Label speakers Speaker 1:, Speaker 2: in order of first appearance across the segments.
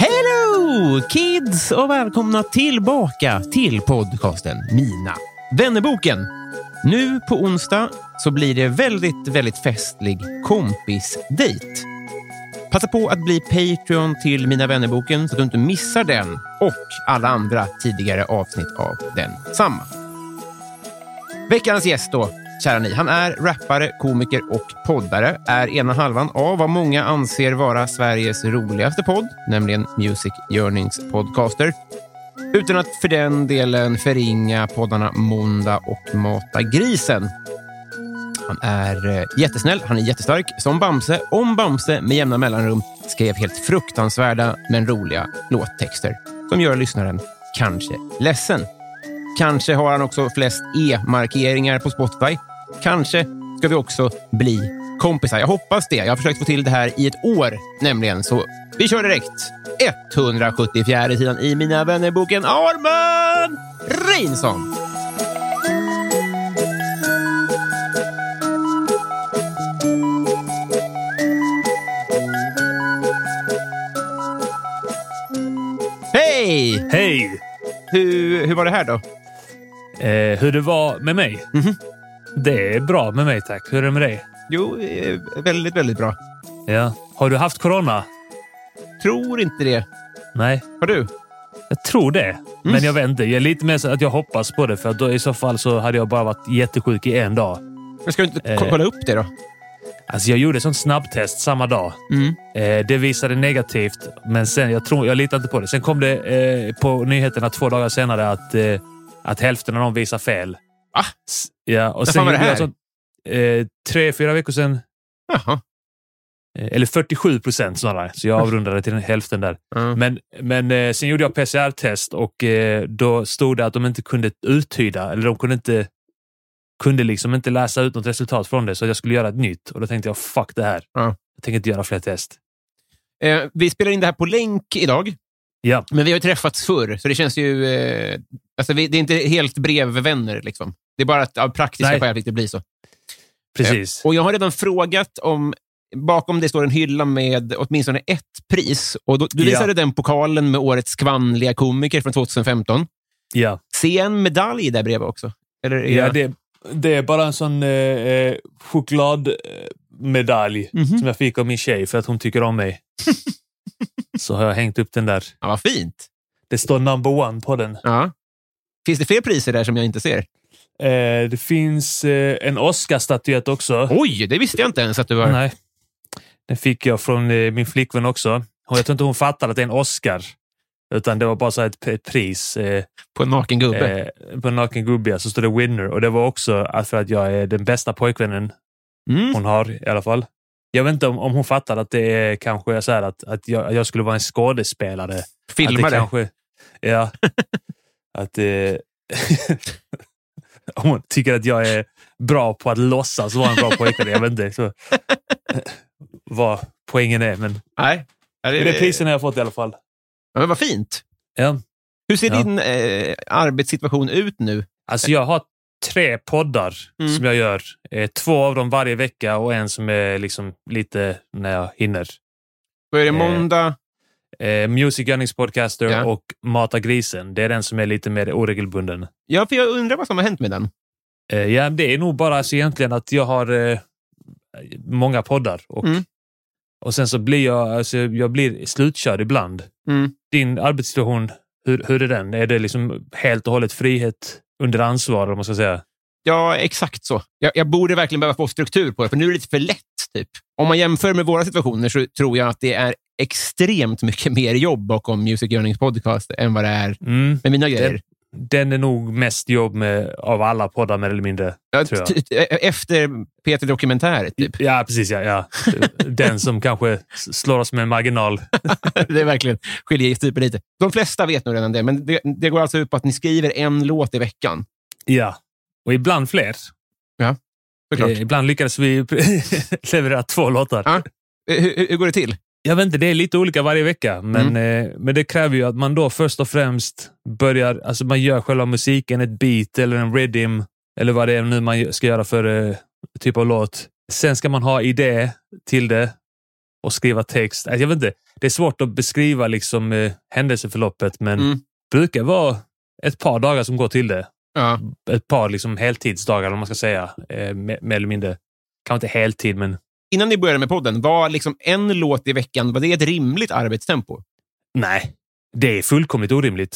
Speaker 1: Hello kids och välkomna tillbaka till podcasten Mina vännerboken. Nu på onsdag så blir det väldigt, väldigt festlig kompisdejt. Passa på att bli Patreon till Mina vännerboken så att du inte missar den och alla andra tidigare avsnitt av densamma. Veckans gäst då, kära ni. Han är rappare, komiker och poddare. Är ena halvan av vad många anser vara Sveriges roligaste podd, nämligen Music Yearnings Podcaster. Utan att för den delen förringa poddarna Måndag och Mata grisen. Han är eh, jättesnäll, han är jättestark, som Bamse, om Bamse med jämna mellanrum skrev helt fruktansvärda men roliga låttexter som gör lyssnaren kanske ledsen. Kanske har han också flest e-markeringar på Spotify. Kanske ska vi också bli kompisar. Jag hoppas det. Jag har försökt få till det här i ett år nämligen, så vi kör direkt. 174 sidan i Mina vännerboken Arman Reinsson. Hej!
Speaker 2: Hej!
Speaker 1: Hur, hur var det här då?
Speaker 2: Eh, hur det var med mig?
Speaker 1: Mhm.
Speaker 2: Det är bra med mig tack. Hur är det med dig?
Speaker 1: Jo, eh, väldigt, väldigt bra.
Speaker 2: Ja. Har du haft corona?
Speaker 1: Tror inte det.
Speaker 2: Nej,
Speaker 1: Har du?
Speaker 2: jag tror det.
Speaker 1: Mm.
Speaker 2: Men jag vet inte. Jag är lite mer så att jag hoppas på det. För att då, i så fall så hade jag bara varit jättesjuk i en dag.
Speaker 1: Men ska du inte ko-
Speaker 2: Eh.
Speaker 1: kolla upp det då?
Speaker 2: Alltså jag gjorde ett sånt snabbtest samma dag.
Speaker 1: Mm.
Speaker 2: Eh, det visade negativt, men sen, jag, tror, jag litar inte på det. Sen kom det eh, på nyheterna två dagar senare att, eh, att hälften av dem visar fel.
Speaker 1: Va?
Speaker 2: S- Ja, och
Speaker 1: Ah. När
Speaker 2: sen
Speaker 1: fan var det
Speaker 2: gjorde jag
Speaker 1: här?
Speaker 2: sånt, eh, tre, fyra veckor sedan.
Speaker 1: Jaha.
Speaker 2: Eh, Eller 47 procent snarare, så jag avrundade till den hälften där.
Speaker 1: Mm.
Speaker 2: Men, men eh, sen gjorde jag PCR-test och eh, då stod det att de inte kunde uttyda, eller de kunde inte kunde liksom inte läsa ut något resultat från det, så jag skulle göra ett nytt. Och då tänkte jag, fuck det här.
Speaker 1: Ja.
Speaker 2: Jag tänker inte göra fler test.
Speaker 1: Eh, vi spelar in det här på länk idag.
Speaker 2: Ja.
Speaker 1: Men vi har ju träffats förr, så det känns ju... Eh, alltså vi, det är inte helt brevvänner. Liksom. Det är bara att av praktiska
Speaker 2: Nej.
Speaker 1: skäl fick det bli så.
Speaker 2: Precis.
Speaker 1: Och Jag har redan frågat om... Bakom det står en hylla med åtminstone ett pris. Och då, du
Speaker 2: Ja.
Speaker 1: visade den pokalen med årets skvannliga komiker från 2015.
Speaker 2: ja.
Speaker 1: Se en medalj där bredvid också. Eller, är
Speaker 2: ja
Speaker 1: jag-
Speaker 2: det, det är bara en sån eh, eh, chokladmedalj
Speaker 1: Mhm.
Speaker 2: som jag fick av min tjej för att hon tycker om mig. så har jag hängt upp den där.
Speaker 1: ja, vad fint.
Speaker 2: Det står number one på den.
Speaker 1: Ja. Finns det fler priser där som jag inte ser?
Speaker 2: Eh, det finns eh, en Oscar-statyett också.
Speaker 1: Oj, det visste jag inte ens att du var.
Speaker 2: Nej. Den fick jag från eh, min flickvän också. Hon, jag tror inte hon fattade att det är en Oscar. Utan det var bara så här ett, p- ett pris eh,
Speaker 1: På en naken gubbe.
Speaker 2: eh, på en naken gubbe. ja, Så stod det winner. Och det var också att för att jag är den bästa pojkvännen
Speaker 1: Mm.
Speaker 2: hon har i alla fall. Jag vet inte om, om hon fattade att det är kanske så här att, att jag, jag skulle vara en skådespelare.
Speaker 1: Filma
Speaker 2: att
Speaker 1: det.
Speaker 2: det. Kanske, ja. att eh, om hon tycker att jag är bra på att låtsas vara en bra pojkvän. Jag vet inte så, vad poängen är, men
Speaker 1: Nej. Ja,
Speaker 2: det
Speaker 1: det,
Speaker 2: är priserna jag har fått i alla fall.
Speaker 1: Ja, men vad fint.
Speaker 2: Ja.
Speaker 1: Hur ser
Speaker 2: Ja.
Speaker 1: din eh, arbetssituation ut nu?
Speaker 2: Alltså jag har tre poddar
Speaker 1: Mm.
Speaker 2: som jag gör. Eh, två av dem varje vecka och en som är liksom lite när jag hinner.
Speaker 1: Då är det
Speaker 2: Eh,
Speaker 1: måndag.
Speaker 2: Eh, Music Gunnings Podcaster
Speaker 1: Ja.
Speaker 2: och Mata Grisen. Det är den som är lite mer oregelbunden.
Speaker 1: Ja, för jag undrar vad som har hänt med den.
Speaker 2: Eh, ja, det är nog bara så egentligen att jag har eh, många poddar. Och,
Speaker 1: Mm.
Speaker 2: och sen så blir jag, alltså, jag blir slutkörd ibland.
Speaker 1: Mm.
Speaker 2: Din arbetssituation, hur, hur är den? Är det liksom helt och hållet frihet under ansvar, om man ska säga?
Speaker 1: Ja, exakt så. Jag, jag borde verkligen behöva få struktur på det, för nu är det lite för lätt. typ. Om man jämför med våra situationer så tror jag att det är extremt mycket mer jobb bakom Music Earnings podcast än vad det är
Speaker 2: Mm.
Speaker 1: med mina grejer.
Speaker 2: Den är nog mest jobb med, av alla poddar, mer eller mindre.
Speaker 1: Ja,
Speaker 2: tror jag.
Speaker 1: t- t- Efter Peter Dokumentär, typ.
Speaker 2: Ja, precis. Ja, ja. Den som kanske s- slår oss med marginal.
Speaker 1: det är verkligen skiljer typ lite. De flesta vet nog redan det, men det, det går alltså ut på att ni skriver en låt i veckan.
Speaker 2: Ja. Och ibland fler.
Speaker 1: Såklart.
Speaker 2: Eh, Ibland lyckades vi leverera två låtar.
Speaker 1: Ja. Eh, Hur, hur- hur går det till?
Speaker 2: Jag vet inte, det är lite olika varje vecka. Men, eh, men det kräver ju att man då först och främst börjar, alltså man gör själva musiken, ett beat eller en rhythm eller vad det är nu man ska göra för eh, typ av låt. Sen ska man ha idé till det och skriva text. Alltså, jag vet inte, det är svårt att beskriva liksom eh, händelseförloppet men
Speaker 1: Mm.
Speaker 2: brukar vara ett par dagar som går till det.
Speaker 1: Ja.
Speaker 2: Ett par liksom heltidsdagar om man ska säga. Eh, mer, mer eller mindre. Kanske inte heltid men
Speaker 1: Innan ni började med podden, var liksom en låt i veckan var det ett rimligt arbetstempo?
Speaker 2: nej. Det är fullkomligt orimligt.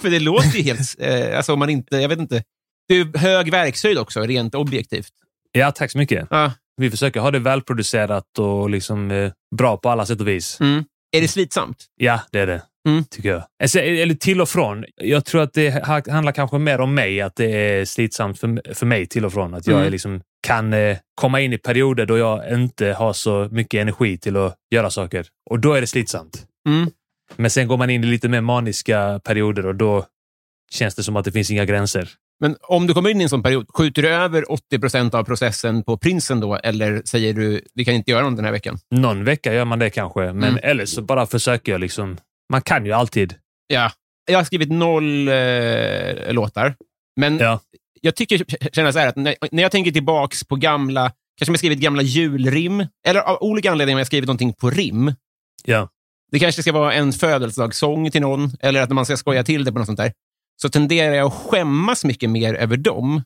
Speaker 1: För det låter ju helt... Eh, alltså om man inte... Jag vet inte. Det är ju hög verkshöjd också, rent objektivt.
Speaker 2: Ja, tack så mycket.
Speaker 1: Ja.
Speaker 2: Vi försöker ha det välproducerat och liksom, eh, bra på alla sätt och vis.
Speaker 1: Mm. Är det slitsamt?
Speaker 2: Ja, det är det.
Speaker 1: Mm.
Speaker 2: Tycker jag. Alltså, eller till och från. Jag tror att det ha- handlar kanske mer om mig, att det är slitsamt för, för mig till och från. Att jag
Speaker 1: Mm.
Speaker 2: är liksom, kan eh, komma in i perioder då jag inte har så mycket energi till att göra saker. Och då är det slitsamt.
Speaker 1: Mm.
Speaker 2: Men sen går man in i lite mer maniska perioder och då känns det som att det finns inga gränser.
Speaker 1: Men om du kommer in i en sån period, skjuter du över 80 procent av processen på prinsen då? Eller säger du vi kan inte göra något den här veckan?
Speaker 2: Någon vecka gör man det kanske, men
Speaker 1: Mm.
Speaker 2: eller så bara försöker jag. liksom. Man kan ju alltid.
Speaker 1: Ja. Jag har skrivit noll eh, låtar. Men
Speaker 2: Ja.
Speaker 1: jag tycker, känner så här, att när, när jag tänker tillbaks på gamla, kanske om jag skrivit gamla julrim, eller av olika anledningar om jag skrivit någonting på rim.
Speaker 2: Ja.
Speaker 1: Det kanske ska vara en födelsedagssång till någon, eller att man ska skoja till det på något sånt där. Så tenderar jag att skämmas mycket mer över dem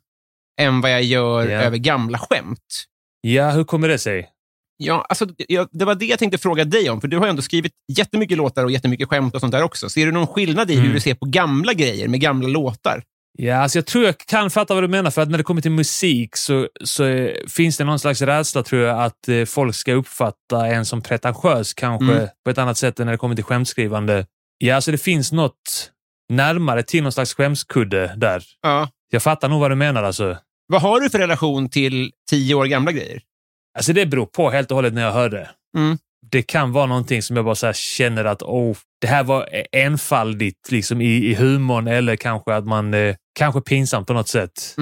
Speaker 1: än vad jag gör
Speaker 2: Ja.
Speaker 1: över gamla skämt.
Speaker 2: Ja, hur kommer det sig?
Speaker 1: Ja, alltså, jag, det var det jag tänkte fråga dig om, för du har ju ändå skrivit jättemycket låtar och jättemycket skämt och sånt där också. Ser du någon skillnad i hur
Speaker 2: Mm.
Speaker 1: du ser på gamla grejer med gamla låtar?
Speaker 2: Ja, alltså jag tror jag kan fatta vad du menar, för att när det kommer till musik så, så eh, finns det någon slags rädsla, tror jag, att eh, folk ska uppfatta en som pretentiös kanske
Speaker 1: Mm.
Speaker 2: på ett annat sätt än när det kommer till skämtskrivande. Ja, alltså det finns något närmare till någon slags skämskudde där.
Speaker 1: Ja.
Speaker 2: Jag fattar nog vad du menar alltså.
Speaker 1: Vad har du för relation till tio år gamla grejer?
Speaker 2: Alltså det beror på helt och hållet när jag hör det.
Speaker 1: Mm.
Speaker 2: Det kan vara någonting som jag bara så här känner att oh, det här var enfaldigt liksom, i, i humorn eller kanske att man eh, kanske pinsamt på något sätt.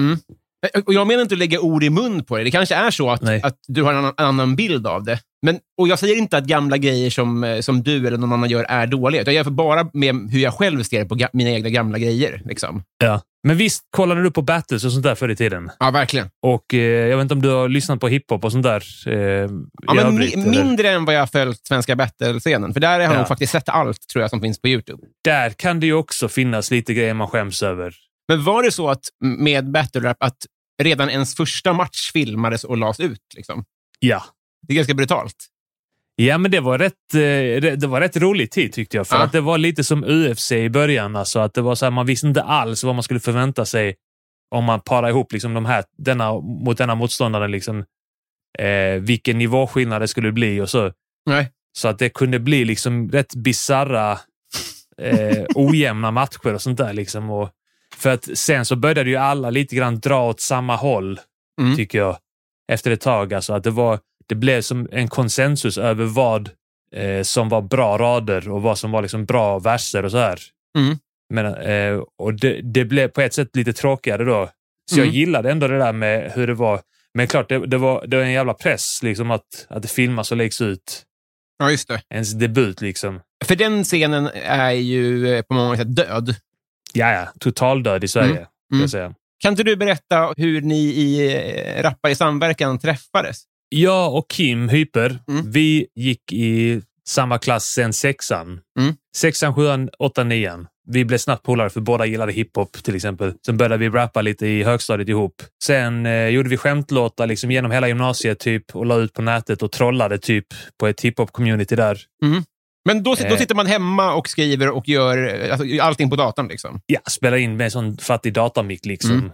Speaker 1: Eh, Och jag menar inte att lägga ord i mun på dig. Det kanske är så att,
Speaker 2: Nej.
Speaker 1: att du har en annan, annan bild av det. Men, och Jag säger inte att gamla grejer som, eh, som du eller någon annan gör är dåliga. utan Jag jämför bara med hur jag själv ser på ga- mina egna gamla grejer. Liksom.
Speaker 2: Ja. Men visst kollade du på battles och sånt där förr i tiden?
Speaker 1: Ja, verkligen.
Speaker 2: Och eh, jag vet inte om du har lyssnat på hiphop och sånt där eh, i
Speaker 1: Ja, men
Speaker 2: övrigt,
Speaker 1: mi-
Speaker 2: eller?
Speaker 1: mindre än vad jag har följt svenska battle-scenen. För där har jag
Speaker 2: Ja.
Speaker 1: nog faktiskt sett allt tror jag som finns på YouTube.
Speaker 2: Där kan det ju också finnas lite grejer man skäms över.
Speaker 1: Men var det så att med battle-rap att redan ens första match filmades och lades ut? Liksom?
Speaker 2: Ja.
Speaker 1: Det är ganska brutalt.
Speaker 2: Ja, men det var rätt, eh, re- det var rätt rolig tid tyckte jag. För
Speaker 1: Ja.
Speaker 2: att det var lite som UFC i början. Alltså, att det var så här, man visste inte alls vad man skulle förvänta sig om man parar ihop liksom, de här, denna, mot denna motståndaren. Liksom, eh, vilken nivåskillnad det skulle bli och så.
Speaker 1: Nej.
Speaker 2: Så att det kunde bli liksom rätt bizarra eh, ojämna matcher och sånt där. Liksom. Och, för att sen så började ju alla lite grann dra åt samma håll,
Speaker 1: Mm.
Speaker 2: tycker jag, efter ett tag. Alltså att det, var, det blev som en konsensus över vad eh, som var bra rader och vad som var liksom bra verser och så här.
Speaker 1: Mm.
Speaker 2: Men, eh, och det, det blev på ett sätt lite tråkigare då. Så jag
Speaker 1: Mm.
Speaker 2: gillade ändå det där med hur det var. Men klart, det, det, var, det var en jävla press liksom att, att det filmas och läggs ut.
Speaker 1: Ja, just det.
Speaker 2: Ens debut liksom.
Speaker 1: För den scenen är ju eh, på många sätt död.
Speaker 2: Ja, ja. Totaldöd i Sverige, skulle
Speaker 1: Mm.
Speaker 2: jag säga.
Speaker 1: Kan inte du berätta hur ni i eh, Rappa i samverkan träffades?
Speaker 2: Jag och Kim Hyper,
Speaker 1: Mm.
Speaker 2: vi gick i samma klass sen sexan.
Speaker 1: Mm.
Speaker 2: Sexan, sjuan, åttan, nian. Vi blev snabbt polare för båda gillade hiphop till exempel. Sen började vi rappa lite i högstadiet ihop. Sen eh, gjorde vi skämtlåtar liksom genom hela gymnasiet typ och la ut på nätet och trollade typ på ett hiphop-community där.
Speaker 1: Men då, sit- då
Speaker 2: Eh.
Speaker 1: sitter man hemma och skriver och gör eh, alltså, allting på datorn. Liksom.
Speaker 2: Ja, spelade in med en sån fattig datamick liksom.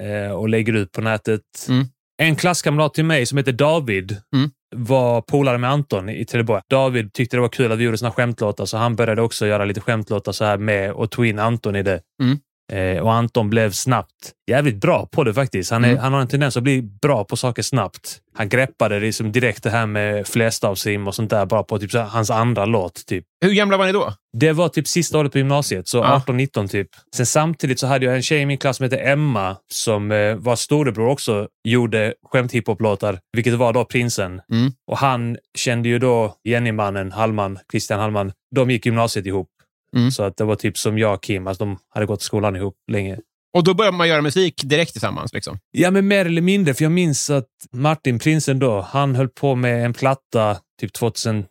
Speaker 2: Eh, och lägger ut på nätet.
Speaker 1: Mm.
Speaker 2: En klasskamrat till mig som heter David
Speaker 1: Mm.
Speaker 2: var polare med Anton i Trelleborg. David tyckte det var kul att vi gjorde såna skämtlåtar så han började också göra lite skämtlåtar så här med och tog in Anton i det.
Speaker 1: Mm.
Speaker 2: Eh, och Anton blev snabbt jävligt bra på det faktiskt. Han, är,
Speaker 1: Mm.
Speaker 2: han har en tendens att bli bra på saker snabbt. Han greppade liksom direkt det här med flerstavsrim och sånt där bara på typ så här, hans andra låt. Typ.
Speaker 1: Hur gamla var ni då?
Speaker 2: Det var typ sista året på gymnasiet, så
Speaker 1: Ja.
Speaker 2: 18-19 typ. Sen samtidigt så hade jag en tjej i min klass som hette Emma som eh, var storebror också, gjorde skämt hiphop-låtar, vilket var då Prinsen.
Speaker 1: Mm.
Speaker 2: Och han kände ju då Jenny-mannen, Hallman, Christian Hallman. De gick gymnasiet ihop.
Speaker 1: Mm.
Speaker 2: Så att det var typ som jag och Kim, alltså de hade gått i skolan ihop länge.
Speaker 1: Och då började man göra musik direkt tillsammans. Liksom.
Speaker 2: Ja, men mer eller mindre, för jag minns att Martin Prinsen då, han höll på med en platta typ 2004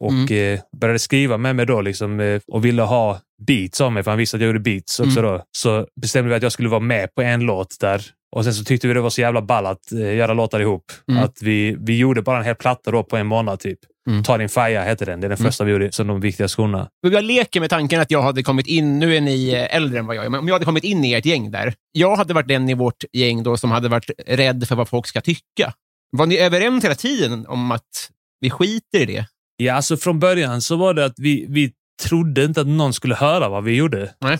Speaker 2: och
Speaker 1: Mm.
Speaker 2: eh, började skriva med mig då liksom, eh, och ville ha beats av mig, för han visste att jag gjorde beats också
Speaker 1: Mm.
Speaker 2: då. Så bestämde vi att jag skulle vara med på en låt där. Och sen så tyckte vi det var så jävla ball att eh, göra låtar ihop.
Speaker 1: Mm.
Speaker 2: Att vi, vi gjorde bara en hel platta då på en månad typ.
Speaker 1: Mm.
Speaker 2: Ta din fire hette den. Det är den
Speaker 1: Mm.
Speaker 2: första vi gjorde som de viktiga skorna.
Speaker 1: Men Jag leker med tanken att jag hade kommit in, nu är ni eh, äldre än vad jag är, men om jag hade kommit in i ert gäng där. Jag hade varit den i vårt gäng då som hade varit rädd för vad folk ska tycka. Var ni överens hela tiden om att vi skiter i det?
Speaker 2: Ja, alltså från början så var det att vi, vi trodde inte att någon skulle höra vad vi gjorde.
Speaker 1: Nej.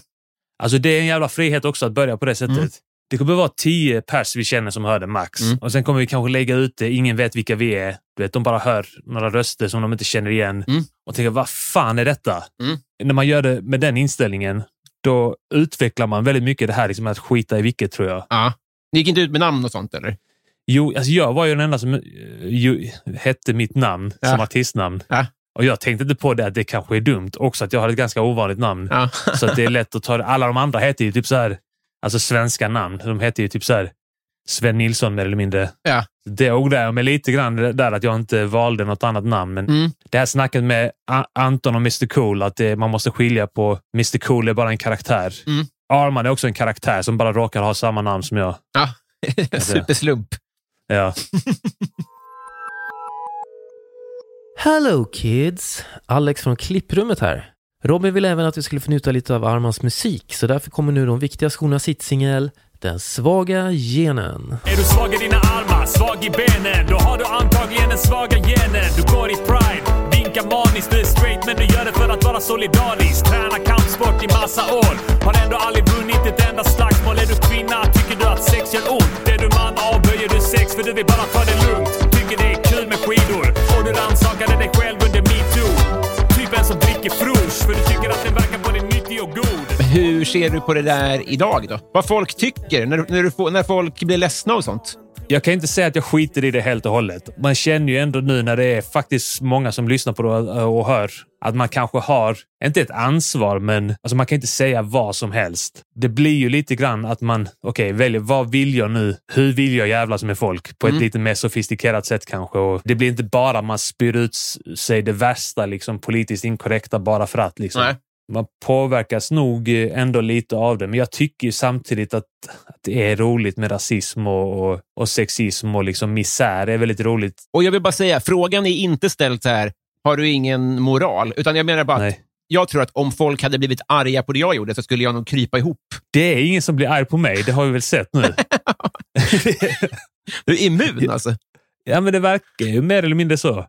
Speaker 2: Alltså det är en jävla frihet också att börja på det sättet.
Speaker 1: Mm.
Speaker 2: Det kommer vara tio pers vi känner som hör det max.
Speaker 1: Mm.
Speaker 2: Och sen kommer vi kanske lägga ut det, ingen vet vilka vi är. Du vet, de bara hör några röster som de inte känner igen.
Speaker 1: Mm.
Speaker 2: Och tänker, vad fan är detta?
Speaker 1: Mm.
Speaker 2: När man gör det med den inställningen, då utvecklar man väldigt mycket det här liksom att skita i vilket, tror jag.
Speaker 1: Ja. Ni gick inte ut med namn och sånt, eller?
Speaker 2: Jo, alltså jag var ju den enda som eh, ju, hette mitt namn
Speaker 1: Ja.
Speaker 2: som artistnamn.
Speaker 1: Ja.
Speaker 2: Och jag tänkte inte på det att det kanske är dumt. Också att jag har ett ganska ovanligt namn.
Speaker 1: Ja.
Speaker 2: Så att det är lätt att ta det. Alla de andra heter ju typ så här, alltså svenska namn. De heter ju typ så här Sven Nilsson mer eller mindre.
Speaker 1: Ja.
Speaker 2: Det ångrar jag mig lite grann där att jag inte valde något annat namn. Men
Speaker 1: Mm.
Speaker 2: det här snacket med A- Anton och Mr Cool, att det, man måste skilja på Mr Cool är bara en karaktär.
Speaker 1: Mm.
Speaker 2: Arman är också en karaktär som bara råkar ha samma namn som jag.
Speaker 1: Superslump.
Speaker 2: Ja.
Speaker 3: Hello kids! Alex från klipprummet här. Robin ville även att vi skulle få njuta lite av Armans musik, så därför kommer nu de viktiga skorna sitt singel Den svaga genen.
Speaker 4: Är du svag i dina armar, svag i benen, då har du antagligen den svaga genen. Du går i pride, vinkar maniskt, du är straight men du gör det för att vara solidarisk. Tränar kampsport i massa år, har ändå aldrig vunnit ett enda slagsmål. Är du kvinna, tycker du att sex gör ont? Är du man, avböjer du sex för du vill bara ta det lugnt. Tycker det är kul med skidor, och du rannsakade dig själv under metoo. Typen som dricker Frush, för du tycker att den verkar både nyttig och god.
Speaker 1: Hur ser du på det där idag? då? Vad folk tycker när, när, du får, när folk blir ledsna och sånt?
Speaker 2: Jag kan inte säga att jag skiter i det helt och hållet. Man känner ju ändå nu när det är faktiskt många som lyssnar på det och och hör att man kanske har, inte ett ansvar, men alltså man kan inte säga vad som helst. Det blir ju lite grann att man, okej, väljer vad vill jag nu? Hur vill jag jävlas med folk? På ett lite mer sofistikerat sätt kanske. Och det blir inte bara man spyr ut s- sig det värsta, liksom politiskt inkorrekta bara för att. Liksom
Speaker 1: Nej.
Speaker 2: man påverkas nog eh, ändå lite av det, men jag tycker ju samtidigt att, att det är roligt med rasism och, och, och sexism och liksom misär. Det är väldigt roligt.
Speaker 1: Och jag vill bara säga, frågan är inte ställd så här, har du ingen moral? Utan jag menar bara att
Speaker 2: Nej.
Speaker 1: jag tror att om folk hade blivit arga på det jag gjorde så skulle jag nog krypa ihop.
Speaker 2: Det är ingen som blir arg på mig, det har vi väl sett nu.
Speaker 1: Du är immun alltså.
Speaker 2: ja, men det verkar ju mer eller mindre så.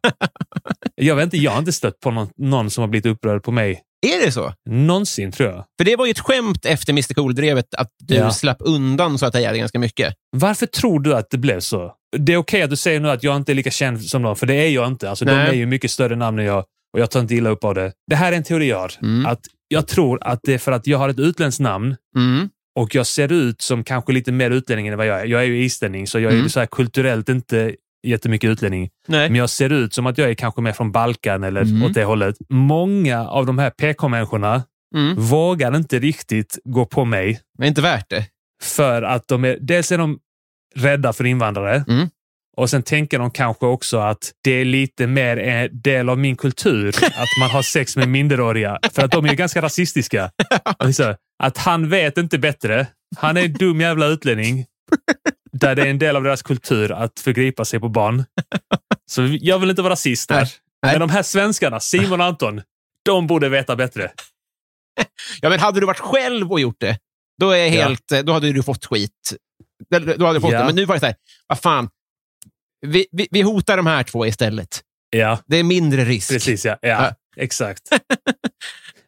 Speaker 2: Jag vet inte, jag har inte stött på någon, någon som har blivit upprörd på mig
Speaker 1: Är det så?
Speaker 2: någonsin, tror jag.
Speaker 1: För det var ju ett skämt efter Mr Cool-drevet att du
Speaker 2: Ja.
Speaker 1: slapp undan så att säga ganska mycket.
Speaker 2: Varför tror du att det blev så? Det är okej att du säger nu att jag inte är lika känd som dem, för det är jag inte. Alltså, de
Speaker 1: Nej.
Speaker 2: är ju mycket större namn än jag och jag tar inte illa upp av det. Det här är en teori jag har.
Speaker 1: Mm.
Speaker 2: Att jag tror att det är för att jag har ett utländskt namn
Speaker 1: Mm.
Speaker 2: och jag ser ut som kanske lite mer utlänning än vad jag är. Jag är ju islänning, så jag är
Speaker 1: Mm.
Speaker 2: ju så här kulturellt inte jättemycket utlänning.
Speaker 1: Nej.
Speaker 2: Men jag ser ut som att jag är kanske mer från Balkan eller
Speaker 1: Mm.
Speaker 2: åt det hållet. Många av de här PK-människorna
Speaker 1: Mm.
Speaker 2: vågar inte riktigt gå på mig
Speaker 1: Men inte värt det.
Speaker 2: För att de är, dels är de rädda för invandrare.
Speaker 1: Mm.
Speaker 2: Och sen tänker de kanske också att det är lite mer en del av min kultur att man har sex med minderåriga. För att de är ju ganska rasistiska. Och Så, att han vet inte bättre. Han är en dum jävla utlänning. Där det är en del av deras kultur att förgripa sig på barn. Så jag vill inte vara rasist där.
Speaker 1: Nej, nej.
Speaker 2: Men de här svenskarna, Simon och Anton, de borde veta bättre.
Speaker 1: Ja, men hade du varit själv och gjort det, då, är jag
Speaker 2: Ja.
Speaker 1: helt, eh, då hade du fått skit. Eller, Då hade du fått
Speaker 2: Ja.
Speaker 1: det. Men nu var det så här, vad fan. Vi, vi, vi hotar de här två istället.
Speaker 2: Ja,
Speaker 1: Det är mindre risk.
Speaker 2: precis. Ja, ja,
Speaker 1: Ja.
Speaker 2: exakt.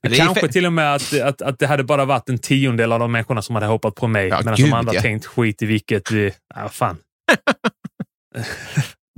Speaker 1: Det är
Speaker 2: Kanske
Speaker 1: fe-
Speaker 2: till och med att, att, att det hade bara varit en tiondel av de människorna som hade hoppat på mig.
Speaker 1: Ja,
Speaker 2: medan
Speaker 1: gud,
Speaker 2: de andra
Speaker 1: ja.
Speaker 2: tänkt skit i vilket... vi- Ja, fan.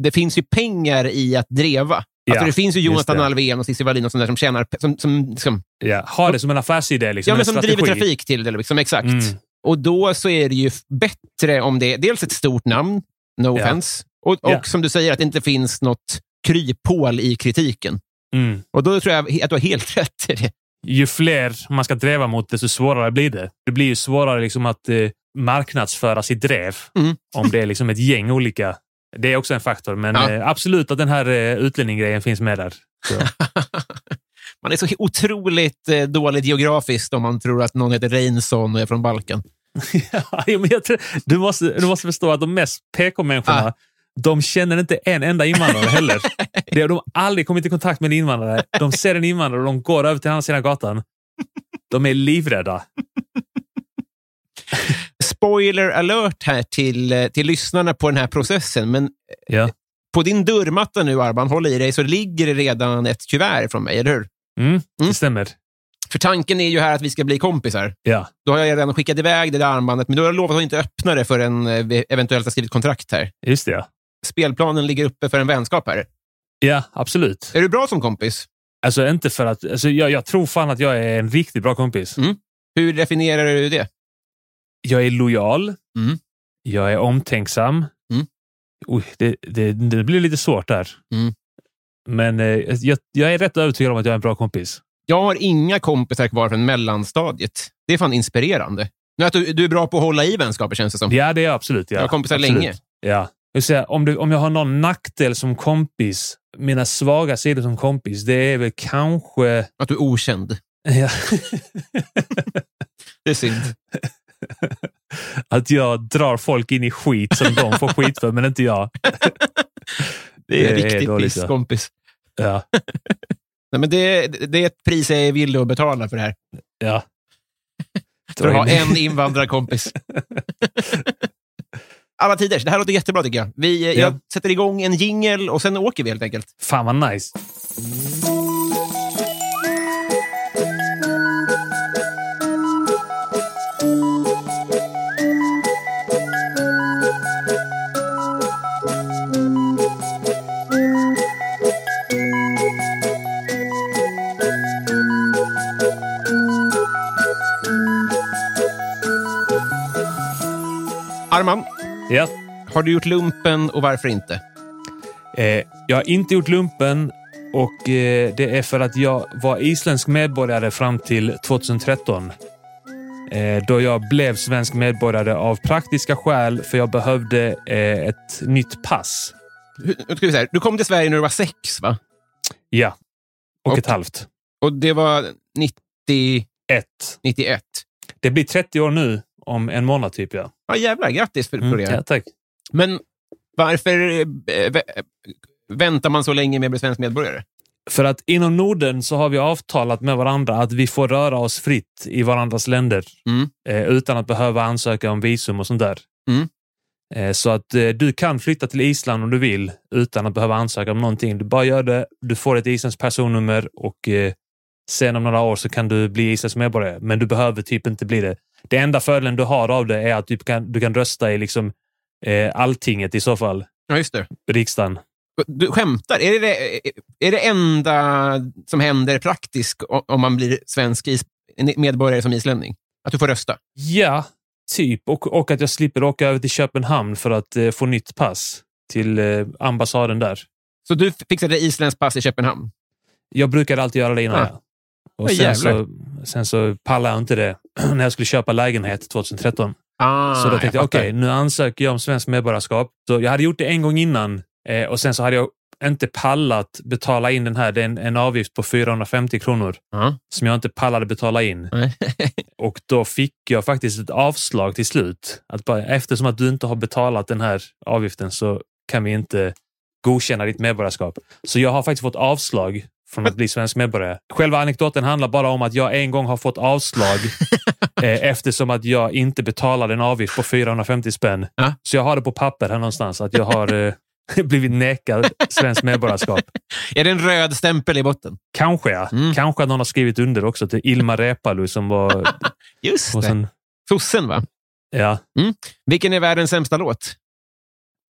Speaker 1: det finns ju pengar i att dreva.
Speaker 2: Ja,
Speaker 1: alltså, det finns ju
Speaker 2: just
Speaker 1: Jonathan
Speaker 2: det.
Speaker 1: Alvén och Cissi Wallin och sådana där som tjänar... Som, som, liksom som,
Speaker 2: Ja. Ha det som en affärsidé. Liksom,
Speaker 1: ja, men
Speaker 2: en
Speaker 1: som driver
Speaker 2: strategi.
Speaker 1: trafik till det. Liksom, exakt.
Speaker 2: Mm.
Speaker 1: Och då så är det ju f- bättre om det är dels ett stort namn, no
Speaker 2: Ja.
Speaker 1: offense, och, och
Speaker 2: Ja.
Speaker 1: som du säger, att det inte finns något kryphål i kritiken.
Speaker 2: Mm.
Speaker 1: Och då tror jag att du har helt rätt i det.
Speaker 2: Ju fler man ska driva mot, desto svårare blir det. Det blir ju svårare liksom att eh, marknadsföra sitt drev
Speaker 1: Mm.
Speaker 2: om det är liksom ett gäng olika. Det är också en faktor, men
Speaker 1: Ja.
Speaker 2: eh, absolut att den här eh, utlänninggrejen finns med där.
Speaker 1: Man är så otroligt eh, dåligt geografiskt om man tror att någon heter Reinsson och är från Balkan.
Speaker 2: Ja, jo, men jag tror, du, måste, du måste förstå att de mest PK-människorna,
Speaker 1: Ah.
Speaker 2: de känner inte en enda invandrare heller. Det, de har aldrig kommit i kontakt med en invandrare. De ser en invandrare och de går över till andra sidan gatan. De är livrädda.
Speaker 1: Spoiler alert här till, eh, till lyssnarna på den här processen, men eh,
Speaker 2: Ja.
Speaker 1: på din dörrmatta nu, Arban, håll i dig, så ligger det redan ett kuvert från mig, eller hur?
Speaker 2: Mm,
Speaker 1: Mm.
Speaker 2: Det stämmer.
Speaker 1: För tanken är ju här att vi ska bli kompisar.
Speaker 2: Ja.
Speaker 1: Då har jag redan skickat iväg det där armbandet, men du har jag lovat att inte öppna det förrän eh, vi eventuellt har skrivit kontrakt här.
Speaker 2: Just det, ja.
Speaker 1: Spelplanen ligger uppe för en vänskap här.
Speaker 2: Ja, absolut.
Speaker 1: Är du bra som kompis?
Speaker 2: Alltså, inte för att, alltså, jag, jag tror fan att jag är en riktigt bra kompis.
Speaker 1: Mm. Hur definierar du det?
Speaker 2: Jag är lojal.
Speaker 1: Mm.
Speaker 2: Jag är omtänksam.
Speaker 1: Mm.
Speaker 2: Oj, det, det, det blir lite svårt där.
Speaker 1: Mm.
Speaker 2: Men eh, jag, jag är rätt övertygad om att jag är en bra kompis.
Speaker 1: Jag har inga kompisar kvar från mellanstadiet. Det är fan inspirerande. Nu att du, du är bra på att hålla i vänskaper, känns det som.
Speaker 2: Ja, det är jag absolut. Ja.
Speaker 1: jag har kompisar
Speaker 2: absolut.
Speaker 1: länge.
Speaker 2: Ja. Jag vill säga, om, du, om jag har någon nackdel som kompis, mina svaga sidor som kompis, det är väl kanske...
Speaker 1: Att du är okänd.
Speaker 2: Ja,
Speaker 1: Det är synd.
Speaker 2: att jag drar folk in i skit som de får skit för, men inte jag.
Speaker 1: Det är
Speaker 2: Det är
Speaker 1: riktigt
Speaker 2: dåligt,
Speaker 1: piss,
Speaker 2: ja.
Speaker 1: kompis.
Speaker 2: Ja.
Speaker 1: Nej, men det, det är ett pris jag är villig att betala för det här.
Speaker 2: ja.
Speaker 1: För att ha en invandrarkompis. Alla tiders. Det här låter jättebra tycker jag. Vi, eh,
Speaker 2: Ja.
Speaker 1: Jag sätter igång en jingle och sen åker vi helt enkelt.
Speaker 2: Fan vad nice.
Speaker 1: Arman,
Speaker 2: Ja.
Speaker 1: har du gjort lumpen och varför inte?
Speaker 2: Eh, jag har inte gjort lumpen och eh, det är för att jag var isländsk medborgare fram till 2013. Eh, då jag blev svensk medborgare av praktiska skäl för jag behövde eh, ett nytt pass.
Speaker 1: Hur, nu ska vi säga, du kom till Sverige när du var sex, va?
Speaker 2: Ja. Och
Speaker 1: Och-
Speaker 2: ett halvt.
Speaker 1: Och det var 90,
Speaker 2: Ett.
Speaker 1: 91.
Speaker 2: Det blir 30 år nu om en månad typ. Ja,
Speaker 1: Ja, jävlar, Mm, grattis för, för det.
Speaker 2: ja tack.
Speaker 1: Men varför eh, vä- väntar man så länge med att bli svensk medborgare?
Speaker 2: För att inom Norden så har vi avtalat med varandra att vi får röra oss fritt i varandras länder
Speaker 1: Mm.
Speaker 2: eh, utan att behöva ansöka om visum och sånt där.
Speaker 1: Mm.
Speaker 2: Eh, så att eh, du kan flytta till Island om du vill utan att behöva ansöka om någonting. Du bara gör det, du får ett isländskt personnummer och eh, sen om några år så kan du bli isländsk medborgare. Men du behöver typ inte bli det. Det enda fördelen du har av det är att du kan, du kan rösta i liksom, eh, alltinget i så fall,
Speaker 1: Ja, just det.
Speaker 2: riksdagen.
Speaker 1: Du skämtar? Är det det, är det enda som händer praktiskt o- om man blir svensk is, medborgare som islänning? Att du får rösta?
Speaker 2: Ja, typ. Och, och att jag slipper åka över till Köpenhamn för att eh, få nytt pass till eh, ambassaden där.
Speaker 1: Så du fixade isländskt pass i Köpenhamn?
Speaker 2: Jag brukade alltid göra det innan.
Speaker 1: Ah.
Speaker 2: ja. Och
Speaker 1: Åh,
Speaker 2: sen,
Speaker 1: jävlar.
Speaker 2: så, sen så pallade jag inte det när jag skulle köpa lägenhet 2013.
Speaker 1: Ah,
Speaker 2: Så då tänkte jag, okej,
Speaker 1: fattar.
Speaker 2: nu ansöker jag om svenskt medborgarskap. Så jag hade gjort det en gång innan eh, och sen så hade jag inte pallat betala in den här. Det är en, en avgift på 450 kronor
Speaker 1: Ja.
Speaker 2: som jag inte pallade betala in.
Speaker 1: Nej.
Speaker 2: Och då fick jag faktiskt ett avslag till slut. Att bara, eftersom att du inte har betalat den här avgiften så kan vi inte godkänna ditt medborgarskap. Så jag har faktiskt fått avslag från att bli svensk medborgare. Själva anekdoten handlar bara om att jag en gång har fått avslag eh, eftersom att jag inte betalade en avgift på 450 spänn.
Speaker 1: Ja.
Speaker 2: Så jag har det på papper här någonstans att jag har eh, blivit nekad svenskt medborgarskap.
Speaker 1: Är det en röd stämpel i botten?
Speaker 2: Kanske, ja.
Speaker 1: Mm.
Speaker 2: Kanske att någon har skrivit under också till Ilma Reepalu som var...
Speaker 1: Just
Speaker 2: Och sen,
Speaker 1: Sossen, va?
Speaker 2: ja.
Speaker 1: Vilken är världens sämsta låt?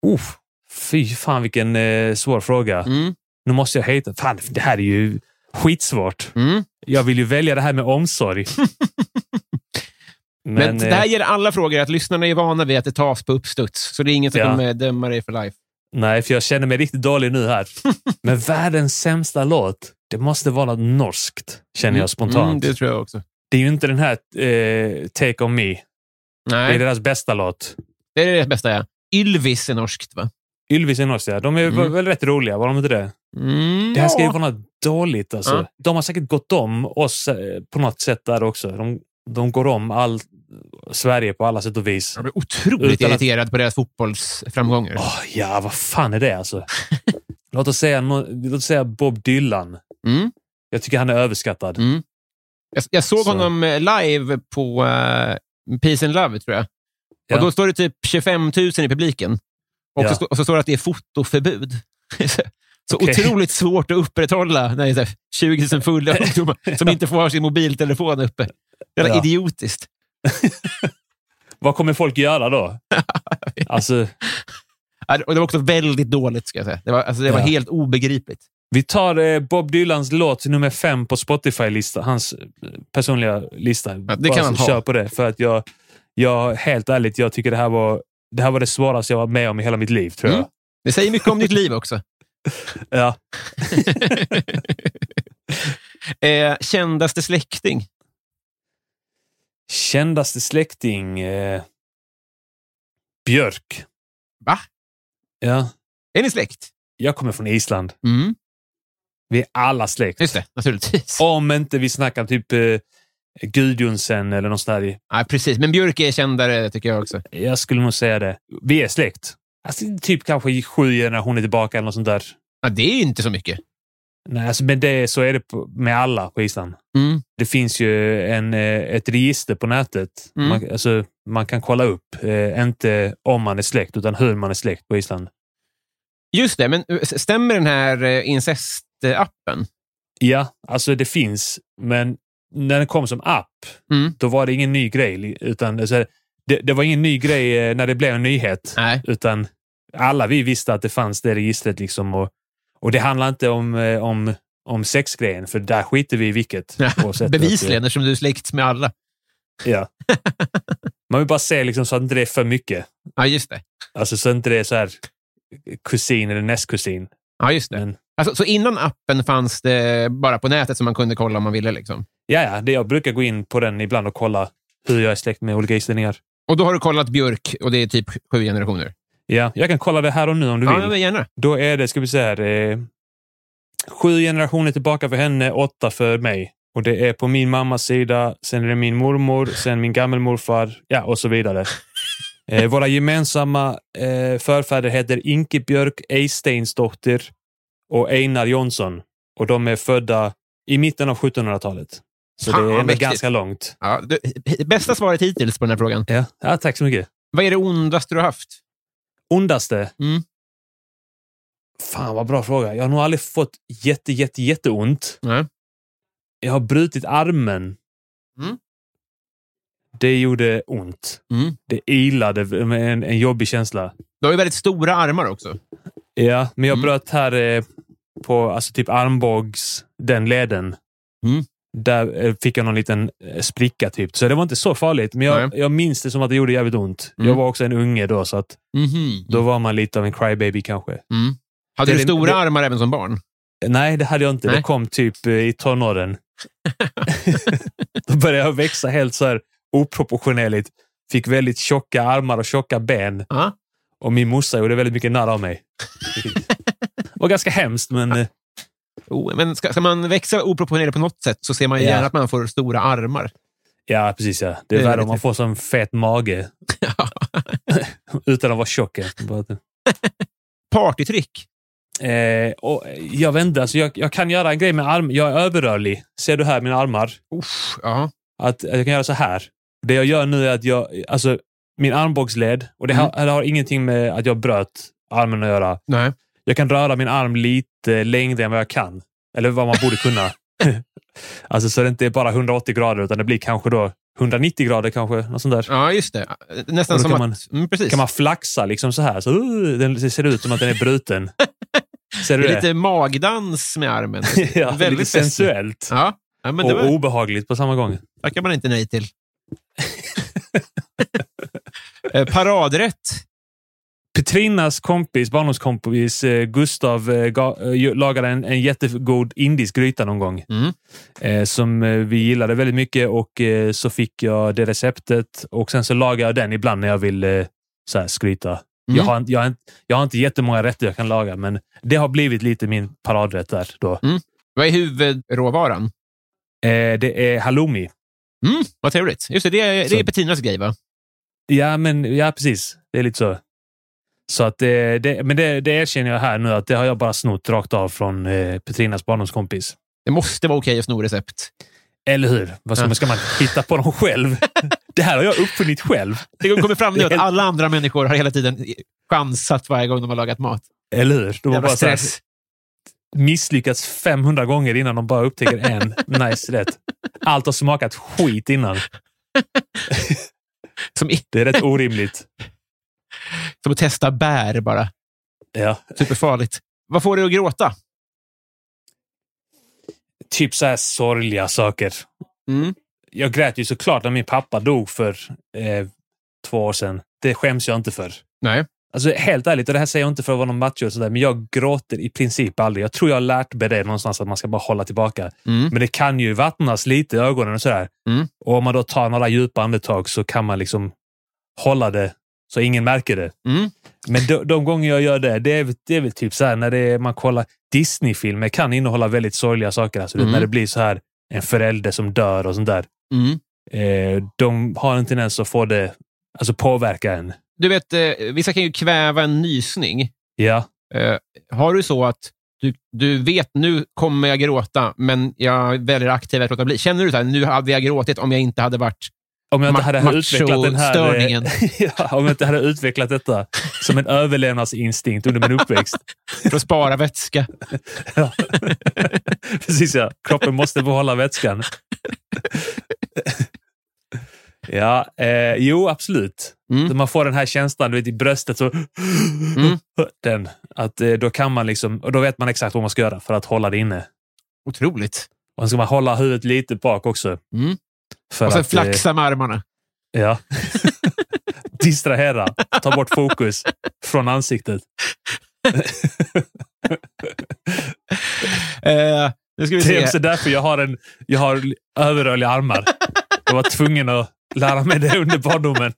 Speaker 2: Uff, fy fan vilken eh, svår fråga.
Speaker 1: Mm.
Speaker 2: Nu måste jag heta. Fan, det här är ju skitsvårt.
Speaker 1: Mm.
Speaker 2: Jag vill ju välja det här med omsorg. Men,
Speaker 1: Men, det här
Speaker 2: eh,
Speaker 1: ger alla frågor att lyssnarna är vana vid att det tas på uppstuds. Så det är ingen som
Speaker 2: Ja.
Speaker 1: kommer döma dig för life.
Speaker 2: nej, för jag känner mig riktigt dålig nu här. Men världens sämsta låt, det måste vara något norskt, känner jag spontant.
Speaker 1: Mm, det
Speaker 2: det...
Speaker 1: tror jag också.
Speaker 2: är ju inte den här eh, Take On Me. Det
Speaker 1: Nej,
Speaker 2: är
Speaker 1: det,
Speaker 2: deras bästa låt.
Speaker 1: är det bästa. Ja. Ylvis är norskt, va?
Speaker 2: Ylvis är norska. De är
Speaker 1: Mm.
Speaker 2: väl rätt roliga, var de inte det?
Speaker 1: Mm,
Speaker 2: Det här ska ju
Speaker 1: ja.
Speaker 2: vara något dåligt. Alltså.
Speaker 1: Ja.
Speaker 2: De har säkert gått om oss eh, på något sätt där också. De, de går om all, Sverige på alla sätt och vis.
Speaker 1: Jag blir otroligt
Speaker 2: Utan att-
Speaker 1: irriterad på deras fotbollsframgångar.
Speaker 2: Åh, ja, vad fan är det alltså? låt, oss säga, nå- låt oss säga Bob Dylan.
Speaker 1: Mm.
Speaker 2: Jag tycker han är överskattad.
Speaker 1: Mm. Jag, jag såg
Speaker 2: Så.
Speaker 1: honom eh, live på eh, Peace and Love, tror jag.
Speaker 2: Ja.
Speaker 1: Och Då står det typ 25 000 i publiken. Och,
Speaker 2: Ja.
Speaker 1: så, stå- och så står det att det är fotoförbud. så
Speaker 2: Okej.
Speaker 1: otroligt svårt att upprätthålla när det är så här 20 000 fulla ungdomar som inte får ha sin mobiltelefon uppe. Jävla
Speaker 2: Ja.
Speaker 1: idiotiskt.
Speaker 2: Vad kommer folk göra då? alltså,
Speaker 1: Ja, det- Och det var också väldigt dåligt, ska jag säga. Det var, alltså, det var
Speaker 2: Ja.
Speaker 1: helt obegripligt.
Speaker 2: vi tar eh, Bob Dylans låt nummer fem på Spotify-listan. Hans eh, personliga lista.
Speaker 1: Ja, det kan
Speaker 2: Bara
Speaker 1: han
Speaker 2: så
Speaker 1: ha.
Speaker 2: Kör på det. För att jag, jag, helt ärligt, jag tycker det här var det här var det svåraste jag var med om i hela mitt liv, tror jag.
Speaker 1: Mm. Det säger mycket om ditt liv också.
Speaker 2: Ja.
Speaker 1: eh, kändaste släkting?
Speaker 2: Kändaste släkting? Eh, Björk.
Speaker 1: Va?
Speaker 2: Ja.
Speaker 1: Är ni släkt?
Speaker 2: Jag kommer från Island.
Speaker 1: Mm.
Speaker 2: Vi är alla släkt.
Speaker 1: Just det, naturligtvis.
Speaker 2: Om inte vi snackar typ eh, Gudjonsen eller något sånt där.
Speaker 1: Ja, precis, men Björk är kändare tycker jag också.
Speaker 2: Jag skulle nog säga det. Vi är släkt. Alltså, typ kanske i sju generationer tillbaka eller något sånt där.
Speaker 1: Ja, det är ju inte så mycket.
Speaker 2: Nej, alltså, men det, så är det på, med alla på Island.
Speaker 1: Mm.
Speaker 2: Det finns ju en, eh, ett register på nätet.
Speaker 1: Mm.
Speaker 2: Man, alltså, man kan kolla upp, eh, inte om man är släkt, utan hur man är släkt på Island.
Speaker 1: Just det, men eh, s- stämmer den här eh, incestappen?
Speaker 2: Ja, alltså det finns, men när den kom som app,
Speaker 1: Mm.
Speaker 2: då var det ingen ny grej. li- Utan, alltså, det, det var ingen ny grej eh, när det blev en nyhet,
Speaker 1: Nej.
Speaker 2: utan alla vi visste att det fanns det registret. Liksom, och, och det handlar inte om, eh, om, om sexgrejen, för där skiter vi i vilket. oavsett att-
Speaker 1: Bevisligen, eftersom du är släkt med alla.
Speaker 2: Ja. Man vill bara se liksom, så att inte det är för mycket.
Speaker 1: Ja, just det.
Speaker 2: Alltså så att inte det är så här eh, kusin eller nästkusin.
Speaker 1: Ja, just det.
Speaker 2: Men-
Speaker 1: Alltså, så innan appen fanns det bara på nätet som man kunde kolla om man ville? Liksom.
Speaker 2: Ja, ja, det, jag brukar gå in på den ibland och kolla hur jag är släkt med olika islänningar.
Speaker 1: Och då har du kollat Björk och det är typ sju generationer?
Speaker 2: Ja, jag kan kolla det här och nu om du vill.
Speaker 1: Ja, men gärna.
Speaker 2: Då är det, ska vi säga här, eh, sju generationer tillbaka för henne, åtta för mig. Och det är på min mammas sida, sen är det min mormor, sen min gammelmorfar, ja och så vidare. Eh, våra gemensamma eh, förfäder heter Inke Björk Eysteinsdotter och Einar Jonsson. Och de är födda i mitten av 1700-talet. Så
Speaker 1: Fan,
Speaker 2: det är ändå
Speaker 1: mäktigt.
Speaker 2: ganska långt.
Speaker 1: Ja, det, bästa svaret hittills på den här frågan.
Speaker 2: Ja. ja, tack så mycket.
Speaker 1: Vad är det ondaste du har haft?
Speaker 2: Ondaste?
Speaker 1: Mm.
Speaker 2: Fan vad bra fråga. Jag har nog aldrig fått jätte, jätte, jätteont.
Speaker 1: Nej.
Speaker 2: Jag har brutit armen.
Speaker 1: Mm.
Speaker 2: Det gjorde ont.
Speaker 1: Mm.
Speaker 2: Det ilade med en, en jobbig känsla.
Speaker 1: Du har ju väldigt stora armar också.
Speaker 2: Ja, men jag
Speaker 1: Mm.
Speaker 2: bröt här eh, på alltså typ armbågs, den leden.
Speaker 1: Mm.
Speaker 2: Där eh, fick jag någon liten eh, spricka typ. Så det var inte så farligt, men jag,
Speaker 1: Nej.
Speaker 2: jag minns det som att det gjorde jävligt ont.
Speaker 1: Mm.
Speaker 2: Jag var också en unge då, så att då var man lite av en crybaby kanske.
Speaker 1: Hade
Speaker 2: Det
Speaker 1: du
Speaker 2: är det-
Speaker 1: stora
Speaker 2: det-
Speaker 1: armar även som barn?
Speaker 2: Nej, det hade jag inte.
Speaker 1: Nej.
Speaker 2: Det kom typ eh, i tonåren. Då började jag växa helt så här oproportionerligt. Fick väldigt tjocka armar och tjocka ben.
Speaker 1: Ja.
Speaker 2: Och min morsa gjorde väldigt mycket narr av mig. Det var ganska hemskt, men eh,
Speaker 1: Oh, men ska, ska man växa oproportionerligt på något sätt så ser man ju
Speaker 2: Ja.
Speaker 1: gärna att man får stora armar.
Speaker 2: ja, precis. Ja. Det
Speaker 1: Det
Speaker 2: är
Speaker 1: är
Speaker 2: värre om
Speaker 1: lite-
Speaker 2: man får sån fet mage. Utan att vara tjock. ens. Bara att-
Speaker 1: Partytrick.
Speaker 2: Eh, och jag vet inte, alltså jag, jag kan göra en grej med arm. Jag är överrörlig. Ser du här mina armar?
Speaker 1: Usch, ja.
Speaker 2: Att, att jag kan göra så här. Det jag gör nu är att jag, alltså min armbågsled, och
Speaker 1: Mm.
Speaker 2: det, har, det har ingenting med att jag bröt armen att göra.
Speaker 1: Nej.
Speaker 2: Jag kan röra min arm lite längre än vad jag kan. Eller vad man borde kunna. alltså så det inte är bara 180 grader utan det blir kanske då 190 grader kanske. Något sånt där.
Speaker 1: Ja, just det. Nästan
Speaker 2: Och då
Speaker 1: som
Speaker 2: kan
Speaker 1: att... Mm, precis.
Speaker 2: Kan man flaxa liksom så här. Så, uh, den ser ut som att den är bruten. Ser du
Speaker 1: det
Speaker 2: det?
Speaker 1: är lite magdans med armen.
Speaker 2: ja,
Speaker 1: väldigt
Speaker 2: lite
Speaker 1: festligt.
Speaker 2: sensuellt.
Speaker 1: Ja, ja men det
Speaker 2: och
Speaker 1: var,
Speaker 2: obehagligt på samma gång.
Speaker 1: tackar man inte nej till. Eh, Paradrätt.
Speaker 2: Petrinas kompis, barndomskompis eh, Gustav eh, ga, eh, ju- lagade en, en jättegod indisk gryta någon gång.
Speaker 1: Mm.
Speaker 2: Eh, som eh, vi gillade väldigt mycket och eh, så fick jag det receptet och sen så lagar jag den ibland när jag vill eh, så här, skryta. Jag, har, inte- jag, har, inte- jag har inte jättemånga rätter jag kan laga men det har blivit lite min paradrätt där då.
Speaker 1: Vad är huvudråvaran?
Speaker 2: Eh, det är halloumi.
Speaker 1: Mm, vad trevligt. Just det, det är, det är
Speaker 2: Så.
Speaker 1: Petinas grej, va?
Speaker 2: Ja, men ja, precis. Det är lite så. Så att eh, det, men det, det erkänner jag här nu att det har jag bara snott rakt av från eh, Petrinas barndomskompis.
Speaker 1: Det måste vara okej att sno recept.
Speaker 2: Eller hur? Vad ska,
Speaker 1: Ja.
Speaker 2: man, ska man hitta på dem själv? det här har jag uppfunnit själv.
Speaker 1: Det kommer fram nu
Speaker 2: Det är
Speaker 1: att
Speaker 2: helt-
Speaker 1: alla andra människor har hela tiden chansat varje gång de har lagat mat.
Speaker 2: Eller hur? De har
Speaker 1: Jävla
Speaker 2: bara så här
Speaker 1: stress.
Speaker 2: misslyckats 500 gånger innan de bara upptäcker en nice rätt. Allt har smakat skit innan.
Speaker 1: Som, i-
Speaker 2: Det är rätt orimligt.
Speaker 1: som att testa bär bara.
Speaker 2: Ja.
Speaker 1: Superfarligt. Vad får du att gråta?
Speaker 2: Typ så här sorgliga saker.
Speaker 1: Mm.
Speaker 2: Jag grät ju såklart när min pappa dog för eh, två år sedan. Det skäms jag inte för.
Speaker 1: Nej.
Speaker 2: Alltså helt ärligt, och det här säger jag inte för att vara någon macho och sådär, men jag gråter i princip aldrig. Jag tror jag har lärt mig det någonstans att man ska bara hålla tillbaka.
Speaker 1: Mm.
Speaker 2: Men det kan ju vattnas lite i ögonen och sådär.
Speaker 1: Mm.
Speaker 2: Och om man då tar några djupa andetag så kan man liksom hålla det så ingen märker det.
Speaker 1: Mm.
Speaker 2: Men de, de gånger jag gör det, det är, väl- det är väl typ så här när det är, man kollar Disney-filmer kan innehålla väldigt sorgliga saker. Alltså, du vet,
Speaker 1: Mm.
Speaker 2: När det blir så här en förälder som dör och sånt där.
Speaker 1: Mm.
Speaker 2: Eh, de har en tendens att få det, alltså påverka en.
Speaker 1: Du vet, eh, vissa kan ju kväva en nysning.
Speaker 2: Ja,
Speaker 1: Eh, har du så att du, du vet nu kommer jag gråta, men jag väljer aktivt att låta bli? Känner du så här, nu hade jag gråtit om jag inte hade varit...
Speaker 2: Om jag inte
Speaker 1: Ma-
Speaker 2: hade utvecklat den här... eh,
Speaker 1: macho-störningen.
Speaker 2: ja, om jag inte hade utvecklat detta som en överlevnadsinstinkt under min uppväxt.
Speaker 1: För att spara vätska.
Speaker 2: Ja. Precis ja, kroppen måste behålla vätskan. ja, eh, jo absolut.
Speaker 1: Mm.
Speaker 2: Så Man får den här känslan du vet, i bröstet. Så den, att, eh, då kan man liksom, och då vet man exakt vad man ska göra för att hålla det inne.
Speaker 1: Otroligt.
Speaker 2: Och sen ska man hålla huvudet lite bak också.
Speaker 1: Mm.
Speaker 2: För
Speaker 1: Och sen
Speaker 2: att, eh,
Speaker 1: flaxa med armarna.
Speaker 2: Ja. Distrahera. Ta bort fokus från ansiktet.
Speaker 1: Eh, nu ska vi
Speaker 2: Det är
Speaker 1: se.
Speaker 2: också därför jag har, en, jag har överrörliga armar. Jag var tvungen att lära mig det under barndomen.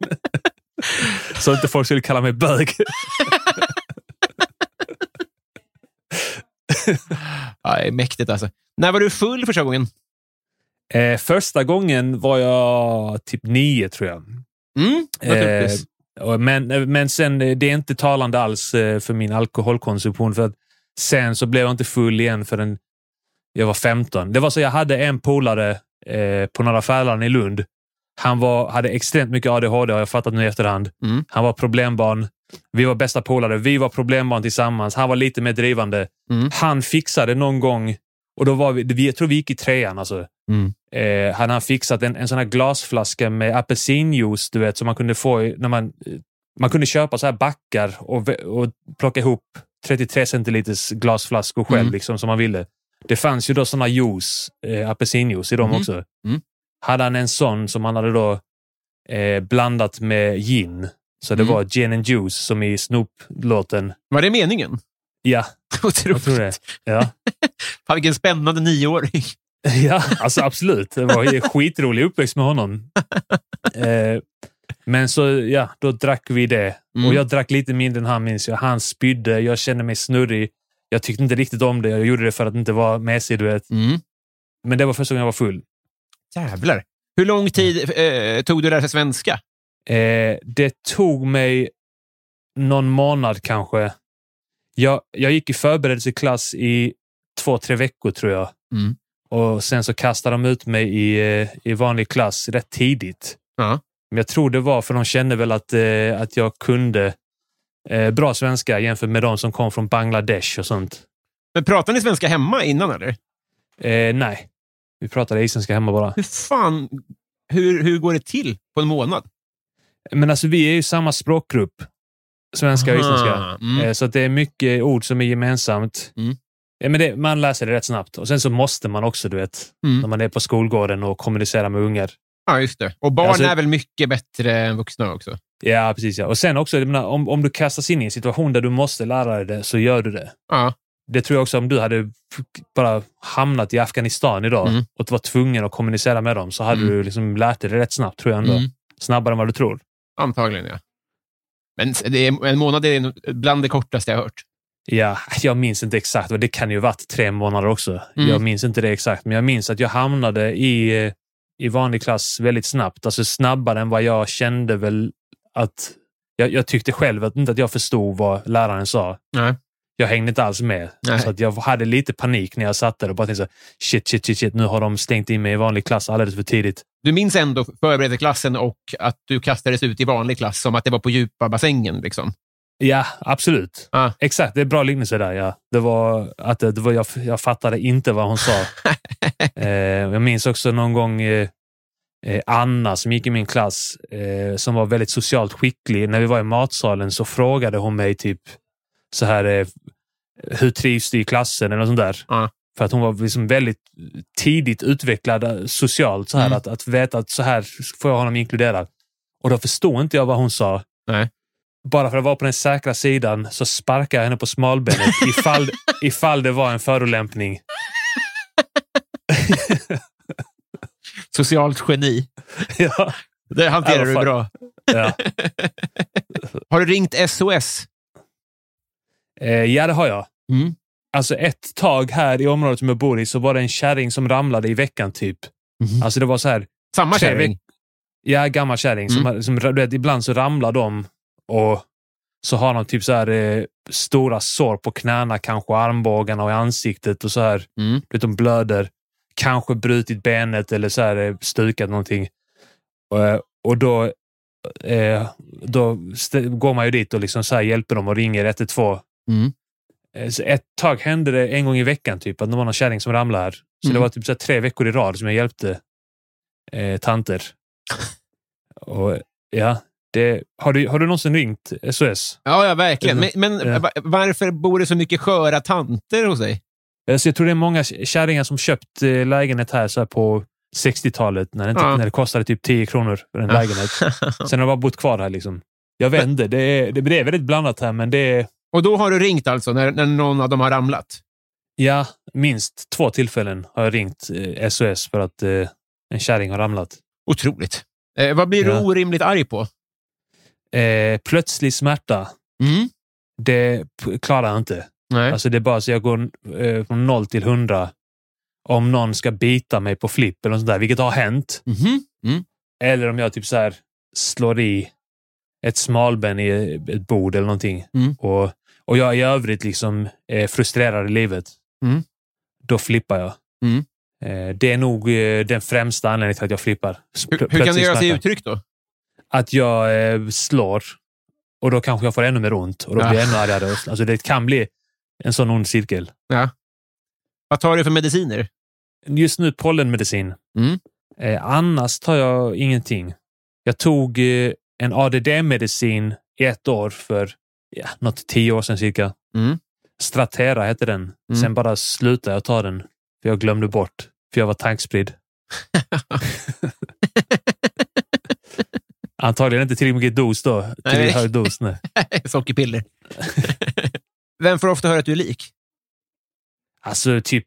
Speaker 2: Så inte folk skulle kalla mig bög.
Speaker 1: Ja, det är mäktigt alltså. När var du full första gången?
Speaker 2: Eh, första gången var jag typ nio, tror jag.
Speaker 1: Mm, naturligtvis.
Speaker 2: Eh, och- men, men sen, eh, det är inte talande alls eh, för min alkoholkonsumtion. För att sen så blev jag inte full igen förrän jag var 15. Det var så jag hade en polare eh, på Norra Fälaren i Lund. Han var, hade extremt mycket ADHD har jag fattat nu i efterhand.
Speaker 1: Mm.
Speaker 2: Han var problembarn. Vi var bästa polare. Vi var problembarn tillsammans. Han var lite mer drivande.
Speaker 1: Mm.
Speaker 2: Han fixade någon gång, och då var vi, vi- jag tror vi gick i trean. Alltså. Eh, han har fixat en, en sån här glasflaska med apelsinjuice, du vet, som man kunde få i- när man... eh, Man kunde köpa så här backar och, vä- och plocka ihop 33 centiliters glasflaskor själv,
Speaker 1: Mm.
Speaker 2: liksom, som man ville. Det fanns ju då såna juice, eh, apelsinjuice i dem
Speaker 1: Mhm.
Speaker 2: också.
Speaker 1: Mm.
Speaker 2: Hade han en sån som han hade då eh, blandat med gin. Så det
Speaker 1: Mm.
Speaker 2: var gin and juice, som i Snoop-låten.
Speaker 1: Var det meningen?
Speaker 2: Ja, jag
Speaker 1: Otroligt.
Speaker 2: tror det. Ja.
Speaker 1: Fan, vilken spännande nioåring.
Speaker 2: Ja, alltså absolut. Det var ju en skitrolig uppväxt med honom. Eh, Men så, ja, då drack vi det.
Speaker 1: Mm.
Speaker 2: Och jag drack lite mindre än han minns jag. Han spydde, jag kände mig snurrig. Jag tyckte inte riktigt om det. Jag gjorde det för att inte vara mesig, du vet.
Speaker 1: Mm.
Speaker 2: Men det var första gången jag var full.
Speaker 1: Jävlar. Hur lång tid eh, tog du att lära dig svenska?
Speaker 2: Eh, det tog mig någon månad kanske. Jag, jag gick i förberedelseklass i två, tre veckor tror jag.
Speaker 1: Mm.
Speaker 2: Och Sen så kastade de ut mig i, eh, i vanlig klass rätt tidigt.
Speaker 1: Ja.
Speaker 2: Men jag tror det var för de kände väl att, eh, att jag kunde eh, bra svenska jämfört med de som kom från Bangladesh och sånt.
Speaker 1: Men pratade ni svenska hemma innan, eller?
Speaker 2: Eh, nej, vi pratade isländska hemma bara.
Speaker 1: Hur fan... Hur, hur går det till på en månad?
Speaker 2: Men alltså vi är ju samma språkgrupp. Svenska och
Speaker 1: Aha,
Speaker 2: isländska.
Speaker 1: mm.
Speaker 2: Eh, Så att det är mycket ord som är gemensamt.
Speaker 1: Mm.
Speaker 2: Eh, Men det, man läser det rätt snabbt. Och sen så måste man också, du vet,
Speaker 1: Mm.
Speaker 2: när man är på skolgården och kommunicerar med ungar.
Speaker 1: Ja, just det. Och barn
Speaker 2: Alltså-
Speaker 1: är väl mycket bättre än vuxna också?
Speaker 2: Ja, precis. Ja. Och sen också, jag menar, om, om du kastas in i en situation där du måste lära dig det, så gör du det.
Speaker 1: Ja.
Speaker 2: Det tror jag också om du hade f- bara hamnat i Afghanistan idag
Speaker 1: Mm.
Speaker 2: och var tvungen att kommunicera med dem, så hade
Speaker 1: Mm.
Speaker 2: du liksom lärt dig det rätt snabbt, tror jag ändå.
Speaker 1: Mm.
Speaker 2: Snabbare än vad du tror.
Speaker 1: Antagligen, ja. Men det är, en månad är nog bland det kortaste jag har hört.
Speaker 2: Ja, jag minns inte exakt. och Det kan ju ha varit tre månader också.
Speaker 1: Mm.
Speaker 2: Jag minns inte det exakt, men jag minns att jag hamnade i, eh, i vanlig klass väldigt snabbt. Alltså snabbare än vad jag kände väl att... Jag, jag tyckte själv att, inte att jag förstod vad läraren sa.
Speaker 1: Nej.
Speaker 2: Jag hängde inte alls med.
Speaker 1: Nej.
Speaker 2: Så att jag hade lite panik när jag satt där och bara tänkte så, här, shit, shit, shit, shit, nu har de stängt in mig i vanlig klass alldeles för tidigt.
Speaker 1: Du minns ändå förberedelseklassen och att du kastades ut i vanlig klass som att det var på djupa bassängen. Liksom.
Speaker 2: Ja, absolut.
Speaker 1: Ah.
Speaker 2: Exakt, det är bra liknelse där. Ja. Det var att eh, det, det var, jag, jag fattade inte vad hon sa. eh, jag minns också någon gång eh, eh, Anna som gick i min klass, eh, som var väldigt socialt skicklig. När vi var i matsalen så frågade hon mig typ så här, eh, hur trivs du i klassen eller något sånt där.
Speaker 1: Ja.
Speaker 2: För att hon var liksom väldigt tidigt utvecklad eh, socialt. Så här,
Speaker 1: Mm.
Speaker 2: att, att veta att så här får jag honom inkluderad. Och då förstod inte jag vad hon sa bara för att vara på den säkra sidan så sparkade jag henne på smalbenet ifall, ifall det var en förolämpning.
Speaker 1: Socialt geni.
Speaker 2: ja,
Speaker 1: Det hanterar
Speaker 2: Ja, vad
Speaker 1: du
Speaker 2: fan.
Speaker 1: bra.
Speaker 2: ja.
Speaker 1: Har du ringt SOS?
Speaker 2: Eh, ja, det har jag.
Speaker 1: Mm.
Speaker 2: Alltså ett tag här i området som jag bor i så var det en kärring som ramlade i veckan typ.
Speaker 1: Mhm.
Speaker 2: Alltså det var så här,
Speaker 1: Samma
Speaker 2: Tre
Speaker 1: kärring?
Speaker 2: ja, gammal kärring.
Speaker 1: Mm.
Speaker 2: Som, har- som, du vet, ibland så ramlar de och så har de typ så här eh, stora sår på knäna, kanske armbågarna och i ansiktet och så här.
Speaker 1: Mm.
Speaker 2: Du vet, de blöder. Kanske brutit benet eller så här, eh, stukat någonting. Och, och då, eh, då st- går man ju dit och liksom så här hjälper dem och ringer 112.
Speaker 1: Mm.
Speaker 2: Eh, Så ett tag hände det en gång i veckan typ, att det var någon kärring som ramlade här. Så det
Speaker 1: Mm.
Speaker 2: var typ så här tre veckor i rad som jag hjälpte eh, tanter. och ja, det, har, du, har du någonsin ringt SOS?
Speaker 1: Ja, ja, verkligen. Men,
Speaker 2: Mm.
Speaker 1: men
Speaker 2: Ja.
Speaker 1: va- varför bor det så mycket sköra tanter hos dig?
Speaker 2: Alltså, jag tror det är många kärringar som köpt eh, lägenhet här, så här på 60-talet när det, inte,
Speaker 1: Ja.
Speaker 2: när det kostade typ 10 kronor för en lägenhet. Sen har jag bara bott kvar här. Liksom. Jag vet inte. Det är, det, det är väldigt blandat här, men det är
Speaker 1: och då har du ringt alltså, när, när någon av dem har ramlat?
Speaker 2: ja, minst två tillfällen har jag ringt eh, SOS för att eh, en kärring har ramlat.
Speaker 1: Otroligt. Eh, vad blir
Speaker 2: Ja.
Speaker 1: du orimligt arg på?
Speaker 2: Eh, plötslig smärta,
Speaker 1: Mm.
Speaker 2: det p- klarar jag inte.
Speaker 1: Nej.
Speaker 2: Alltså det är bara så jag går eh, från noll till hundra om någon ska bita mig på flipp eller något sånt där, vilket har hänt.
Speaker 1: Mhm.
Speaker 2: Eller om jag typ så här slår i ett smalben i ett bord eller någonting.
Speaker 1: Mm.
Speaker 2: Och, och jag i övrigt liksom är frustrerad i livet.
Speaker 1: Mm.
Speaker 2: Då flippar jag.
Speaker 1: Mm.
Speaker 2: Eh, Det är nog eh, den främsta anledningen till att jag flippar. S-
Speaker 1: Hur,
Speaker 2: plö-
Speaker 1: hur kan det
Speaker 2: plötslig
Speaker 1: göra sig
Speaker 2: smärta.
Speaker 1: uttryck då?
Speaker 2: Att jag eh, slår och då kanske jag får ännu mer ont och då blir jag
Speaker 1: Ah.
Speaker 2: ännu argare. Alltså det kan bli en sån ond cirkel.
Speaker 1: Vad tar du för mediciner?
Speaker 2: Just nu pollenmedicin.
Speaker 1: Mm.
Speaker 2: Eh, annars tar jag ingenting. Jag tog eh, en ADD-medicin i ett år för ja, något tio år sedan cirka.
Speaker 1: Mm.
Speaker 2: Stratera hette den.
Speaker 1: Mm.
Speaker 2: Sen bara slutade jag ta den. För jag glömde bort. För jag var tankspridd. Antagligen inte tillräckligt mycket dos då.
Speaker 1: Nej.
Speaker 2: Tillräckligt hög dos. Nej.
Speaker 1: Sockerpiller. Vem får ofta höra att du är lik?
Speaker 2: Alltså typ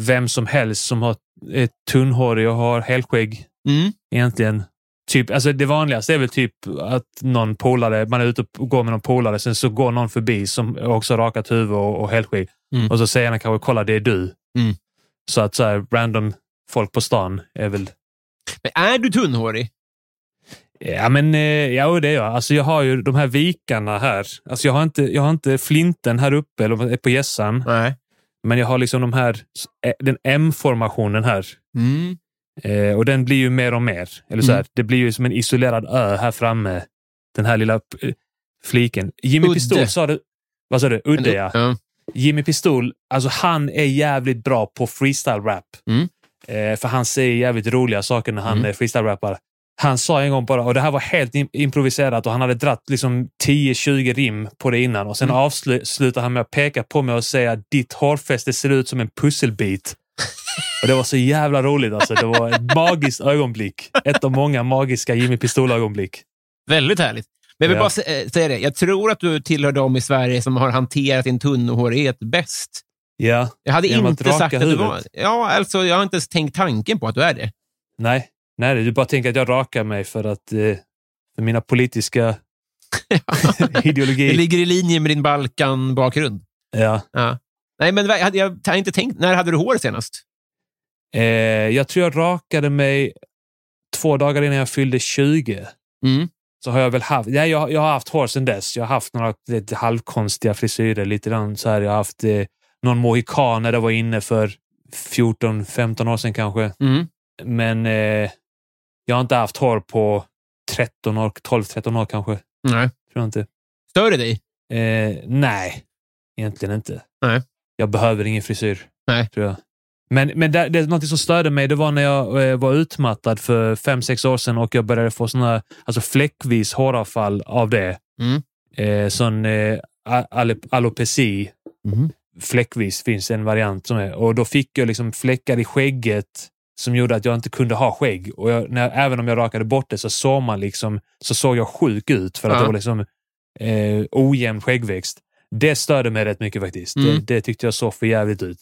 Speaker 2: vem som helst som har, är tunnhårig och har helskägg
Speaker 1: Mm.
Speaker 2: egentligen. Typ, alltså det vanligaste är väl typ att någon polare, man är ute och går med någon polare, sen så går någon förbi som också har rakat huvud och, och hälskig.
Speaker 1: Mm.
Speaker 2: Och så säger han kanske “kolla, det är du”.
Speaker 1: Mm.
Speaker 2: Så att så här, random folk på stan är väl...
Speaker 1: Men är du tunnhårig?
Speaker 2: Ja, men eh, ja, och det är jag. Alltså, jag har ju de här vikarna här. Alltså, jag, har inte, jag har inte flinten här uppe eller på gässan,
Speaker 1: Nej.
Speaker 2: men jag har liksom de här, den M-formationen här.
Speaker 1: Mm.
Speaker 2: Eh, och den blir ju mer och mer. Eller så här,
Speaker 1: Mm.
Speaker 2: Det blir ju som en isolerad ö här framme. Den här lilla eh, fliken. Jimmy
Speaker 1: Udde.
Speaker 2: Pistol sa du. Vad sa du? Udde, ja.
Speaker 1: Ja.
Speaker 2: Jimmy Pistol, alltså han är jävligt bra på freestyle-rap.
Speaker 1: Mm.
Speaker 2: Eh, för han säger jävligt roliga saker när han
Speaker 1: Mm.
Speaker 2: eh, freestyle-rappar. Han sa en gång bara, och det här var helt im- improviserat och han hade dratt liksom 10-20 rim på det innan och sen
Speaker 1: Mm.
Speaker 2: avslutar han med att peka på mig och säga ditt hårfäste ser ut som en pusselbit. och det var så jävla roligt alltså. Det var ett magiskt ögonblick. Ett av många magiska Jimmy Pistol-ögonblick.
Speaker 1: Väldigt härligt. Men jag vill
Speaker 2: Ja.
Speaker 1: bara sä- eh, säga det. Jag tror att du tillhör de i Sverige som har hanterat din tunnhårighet bäst.
Speaker 2: Ja,
Speaker 1: Jag hade
Speaker 2: Genom att
Speaker 1: inte
Speaker 2: raka
Speaker 1: sagt att du var...
Speaker 2: huvudet.
Speaker 1: Ja, alltså jag har inte ens tänkt tanken på att du är det.
Speaker 2: nej. Nej, du bara tänker att jag rakar mig för att eh, för mina politiska
Speaker 1: Det
Speaker 2: ideologier.
Speaker 1: ligger i linje med din Balkan-bakgrund.
Speaker 2: Ja.
Speaker 1: Ja. Nej, men jag hade, jag hade inte tänkt... När hade du hår senast?
Speaker 2: Eh, jag tror jag rakade mig två dagar innan jag fyllde 20.
Speaker 1: Mm.
Speaker 2: Så har jag väl haft, nej, jag, jag har haft hår sedan dess. Jag har haft några lite halvkonstiga frisyrer. Lite grann så här. Jag har haft eh, någon mohikan när det var inne för 14-15 år sedan kanske.
Speaker 1: Mm.
Speaker 2: Men eh, jag har inte haft hår på 13 år, 12-13 år kanske.
Speaker 1: Nej.
Speaker 2: Tror jag inte.
Speaker 1: Stör det dig?
Speaker 2: Eh, nej, egentligen inte.
Speaker 1: Nej.
Speaker 2: Jag behöver ingen frisyr.
Speaker 1: Nej.
Speaker 2: Tror jag. Men, men det, det, något som störde mig det var när jag eh, var utmattad för fem sex år sedan och jag började få såna, alltså fläckvis håravfall av det.
Speaker 1: Mm.
Speaker 2: Eh, sån eh, a- ale- alopeci.
Speaker 1: Mm.
Speaker 2: Fläckvis finns en variant. som är. Och Då fick jag liksom fläckar i skägget som gjorde att jag inte kunde ha skägg. Och jag, när, även om jag rakade bort det så såg, man liksom, så såg jag sjuk ut för att
Speaker 1: Ja.
Speaker 2: det var liksom eh, ojämn skäggväxt. Det störde mig rätt mycket faktiskt. Det,
Speaker 1: Mm.
Speaker 2: det tyckte jag såg för jävligt ut.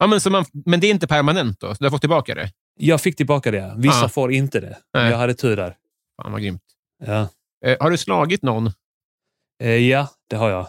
Speaker 1: Ja, men, så man, men det är inte permanent då? Så du har fått tillbaka det?
Speaker 2: Jag fick tillbaka det. Vissa
Speaker 1: Ja.
Speaker 2: får inte det.
Speaker 1: Nej.
Speaker 2: Jag hade tur där.
Speaker 1: Fan vad grymt.
Speaker 2: Ja,
Speaker 1: Eh, har du slagit någon?
Speaker 2: eh, ja det har jag.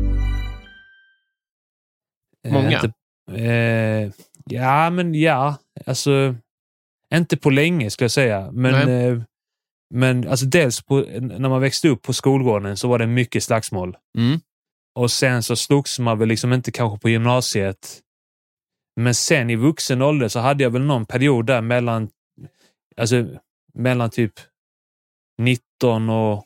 Speaker 2: Eh,
Speaker 1: Många?
Speaker 2: Inte, eh, ja, men ja. Alltså, inte på länge skulle jag säga. Men,
Speaker 1: Nej.
Speaker 2: eh, men alltså, dels på, när man växte upp på skolgården så var det mycket slagsmål.
Speaker 1: Mm.
Speaker 2: Och sen så slogs man väl liksom inte kanske på gymnasiet. Men sen i vuxen ålder så hade jag väl någon period där mellan, alltså, mellan typ 19 och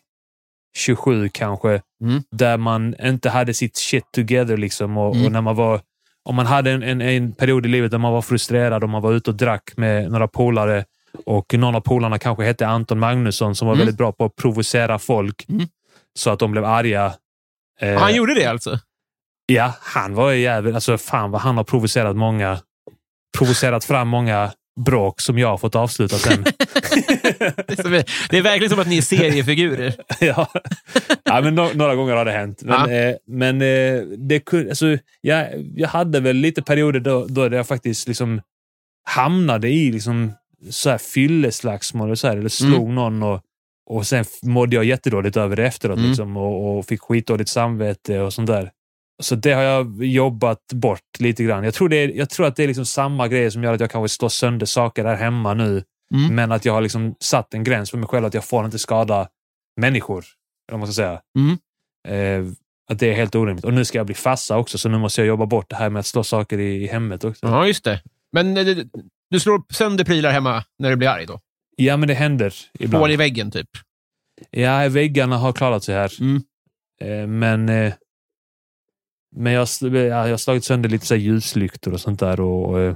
Speaker 2: 27 kanske,
Speaker 1: Mm.
Speaker 2: där man inte hade sitt shit together. Liksom, och,
Speaker 1: Mm.
Speaker 2: och när man var, om man hade en, en, en period i livet där man var frustrerad och man var ute och drack med några polare och någon av polarna kanske hette Anton Magnusson som var
Speaker 1: Mm.
Speaker 2: väldigt bra på att provocera folk
Speaker 1: Mm.
Speaker 2: så att de blev arga. Eh,
Speaker 1: Han gjorde det alltså?
Speaker 2: Ja, han var ju jävel. Alltså fan vad han har provocerat många. Provocerat fram många bråk som jag har fått avsluta sen.
Speaker 1: Det är, som, det är verkligen som att ni är seriefigurer.
Speaker 2: ja. ja, men no- några gånger har det hänt.
Speaker 1: Ja.
Speaker 2: Men, eh, men eh, det kunde, alltså, jag, jag hade väl lite perioder då, då jag faktiskt liksom hamnade i liksom, så här fylleslagsmål och så här, eller
Speaker 1: Mm.
Speaker 2: slog någon och, och sen f- mådde jag jättedåligt över det efteråt
Speaker 1: Mm.
Speaker 2: liksom, och, och fick skitdåligt samvete och sånt där. Så det har jag jobbat bort lite grann. Jag tror, det är, jag tror att det är liksom samma grejer som gör att jag kanske slår sönder saker där hemma nu.
Speaker 1: Mm.
Speaker 2: Men att jag har liksom satt en gräns för mig själv att jag får inte skada människor. Om man ska säga.
Speaker 1: Mm.
Speaker 2: Eh, att det är helt orimligt. Och nu ska jag bli farsa också, så nu måste jag jobba bort det här med att slå saker i, i hemmet också.
Speaker 1: Ja, just det. Men eh, du- du slår sönder prylar hemma när du blir arg då?
Speaker 2: Ja, men det händer ibland.
Speaker 1: Hål i väggen, typ?
Speaker 2: Ja, väggarna har klarat sig här.
Speaker 1: Mm.
Speaker 2: Eh, Men, eh, men jag, sl- eh, ja, jag har slagit sönder lite så här ljuslyktor och sånt där. Och, och, eh,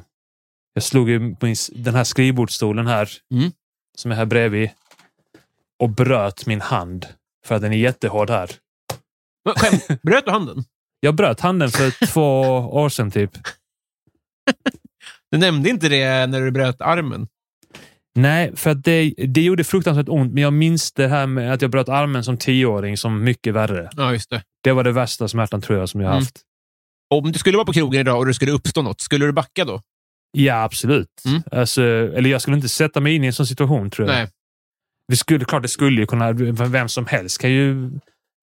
Speaker 2: jag slog ju min, s- den här skrivbordsstolen här,
Speaker 1: Mm.
Speaker 2: som är här bredvid, och bröt min hand. För att den är jättehård här.
Speaker 1: Men Skämt. Bröt du handen?
Speaker 2: Jag bröt handen för två år sedan typ.
Speaker 1: Du nämnde inte det när du bröt armen.
Speaker 2: Nej, för att det, det gjorde fruktansvärt ont, men jag minns det här med att jag bröt armen som tioåring som mycket värre.
Speaker 1: Ja, just det.
Speaker 2: Det var det värsta smärtan tror jag som jag
Speaker 1: Mm.
Speaker 2: haft.
Speaker 1: Om du skulle vara på krogen idag och det skulle uppstå något, skulle du backa då?
Speaker 2: Ja, absolut.
Speaker 1: Mm.
Speaker 2: Alltså, eller jag skulle inte sätta mig in i en sån situation, tror jag.
Speaker 1: Nej.
Speaker 2: Det skulle, klart det skulle ju kunna... Vem som helst kan ju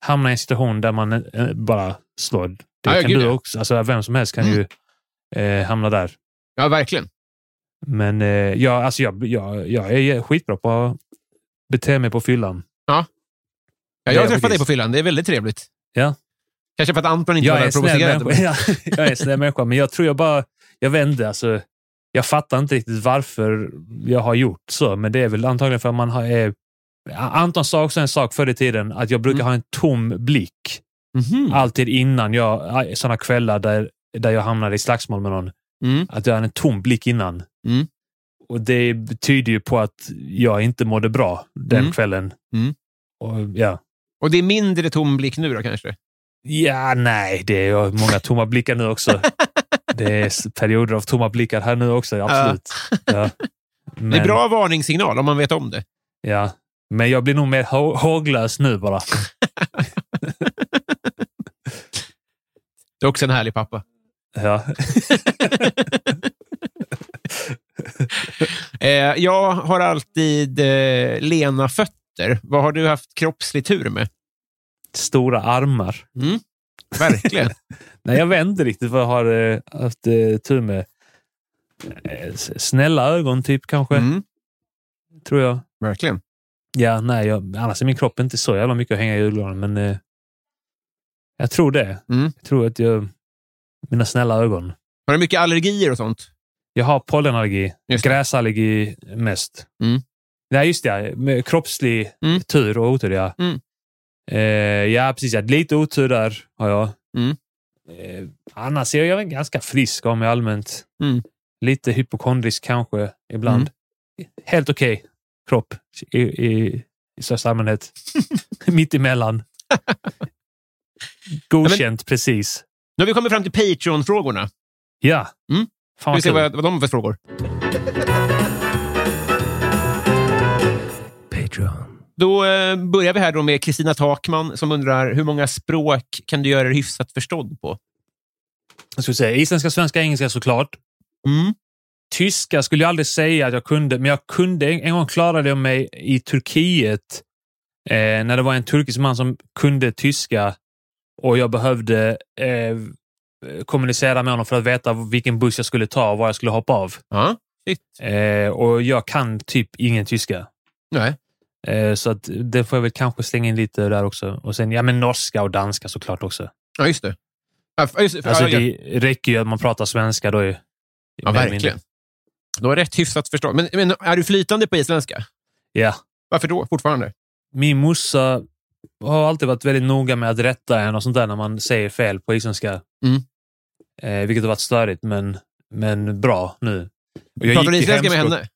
Speaker 2: hamna i en situation där man eh, bara slår. Det
Speaker 1: Ja, ja,
Speaker 2: kan
Speaker 1: gud,
Speaker 2: du
Speaker 1: ja.
Speaker 2: också. Alltså, vem som helst kan
Speaker 1: Mm.
Speaker 2: ju eh, hamna där.
Speaker 1: Ja, verkligen.
Speaker 2: Men eh, jag, alltså, jag, jag, jag är skitbra på att bete mig på fyllan.
Speaker 1: Ja,
Speaker 2: Ja,
Speaker 1: jag har träffat dig
Speaker 2: precis.
Speaker 1: på fyllan. Det är väldigt trevligt.
Speaker 2: Ja.
Speaker 1: Kanske för att Anton inte var
Speaker 2: Jag
Speaker 1: där
Speaker 2: är,
Speaker 1: och
Speaker 2: snäll människa.
Speaker 1: provocerade.
Speaker 2: Ja, jag är en snäll människa, men jag tror jag bara... Jag vände. Alltså, jag fattar inte riktigt varför jag har gjort så, men det är väl antagligen för att man har... Är, Anton sa också en sak förr i tiden, att jag brukar
Speaker 1: Mm.
Speaker 2: ha en tom blick.
Speaker 1: Mhm.
Speaker 2: Alltid innan jag... Sådana kvällar där, där jag hamnar i slagsmål med någon.
Speaker 1: Mm.
Speaker 2: Att jag har en tom blick innan.
Speaker 1: Mm.
Speaker 2: Och det betyder ju på att jag inte mådde bra den
Speaker 1: Mm.
Speaker 2: kvällen.
Speaker 1: Mm.
Speaker 2: Och, ja.
Speaker 1: Och det är mindre tom blick nu då kanske?
Speaker 2: Ja, nej, det är ju många tomma blickar nu också. Det är s- perioder av tomma blickar här nu också, absolut. Ja. Men,
Speaker 1: Det är bra varningssignal om man vet om det.
Speaker 2: Ja. Men jag blir nog mer hå- håglös nu bara.
Speaker 1: Du är också en härlig pappa.
Speaker 2: Ja.
Speaker 1: Eh, jag har alltid eh, lena fötter. Vad har du haft kroppslig tur med?
Speaker 2: Stora armar.
Speaker 1: Verkligen.
Speaker 2: Nej, jag vet inte riktigt vad jag har eh, haft eh, tur med. Eh, s- Snälla ögon, typ, kanske.
Speaker 1: Mm,
Speaker 2: Tror jag.
Speaker 1: verkligen.
Speaker 2: Ja, nej, jag, annars är min kropp inte så jävla mycket att hänga i julgranen, men eh, jag tror det.
Speaker 1: Mm.
Speaker 2: Jag tror att jag... Mina snälla ögon.
Speaker 1: Har du mycket allergier och sånt?
Speaker 2: Jag har pollenallergi.
Speaker 1: Just det.
Speaker 2: Gräsallergi mest.
Speaker 1: Mm.
Speaker 2: Nej, just det. ja. Med kroppslig
Speaker 1: Mm.
Speaker 2: tur och otur, ja.
Speaker 1: Mm.
Speaker 2: Eh, ja, precis. Ja. Lite otur där har jag.
Speaker 1: Mm.
Speaker 2: Eh, annars är jag väl ganska frisk av mig allmänt.
Speaker 1: Mm.
Speaker 2: Lite hypokondrisk kanske ibland.
Speaker 1: Mm.
Speaker 2: Helt okej kropp i, i, i största allmänhet. Mitt emellan. Godkänt precis.
Speaker 1: Nu har vi kommit fram till Patreon-frågorna.
Speaker 2: Ja.
Speaker 1: Mm.
Speaker 2: Fan
Speaker 1: Vi
Speaker 2: vad
Speaker 1: ser
Speaker 2: kul.
Speaker 1: vad, vad de har för frågor.
Speaker 3: Patreon.
Speaker 1: Då eh, börjar vi här då med Kristina Takman som undrar hur många språk kan du göra dig hyfsat förstådd på?
Speaker 2: Jag skulle säga isländska, svenska, engelska såklart. Mm. Tyska skulle jag aldrig säga att jag kunde, men jag kunde. En gång klarade jag mig i Turkiet eh, när det var en turkisk man som kunde tyska och jag behövde eh, kommunicera med honom för att veta vilken buss jag skulle ta och var jag skulle hoppa av.
Speaker 1: Ja.
Speaker 2: Eh, och jag kan typ ingen tyska.
Speaker 1: Nej.
Speaker 2: Eh, så att det får jag väl kanske slänga in lite där också. Och sen, ja men norska och danska såklart också.
Speaker 1: ja, just det. Ja, f- ja, just, det.
Speaker 2: Alltså
Speaker 1: ja, ja.
Speaker 2: det räcker ju att man pratar svenska då. Ju,
Speaker 1: ja,
Speaker 2: mer eller mindre.
Speaker 1: verkligen. Du har rätt hyfsat förstådd. Men, men är du flytande på isländska?
Speaker 2: Ja.
Speaker 1: Varför då fortfarande?
Speaker 2: Min morsa har alltid varit väldigt noga med att rätta en och sånt där när man säger fel på isländska.
Speaker 1: Mm.
Speaker 2: Eh, vilket har varit störigt, men, men bra nu. Och jag
Speaker 1: Pratar du
Speaker 2: gick i
Speaker 1: isländska med
Speaker 2: hemspråk-
Speaker 1: henne?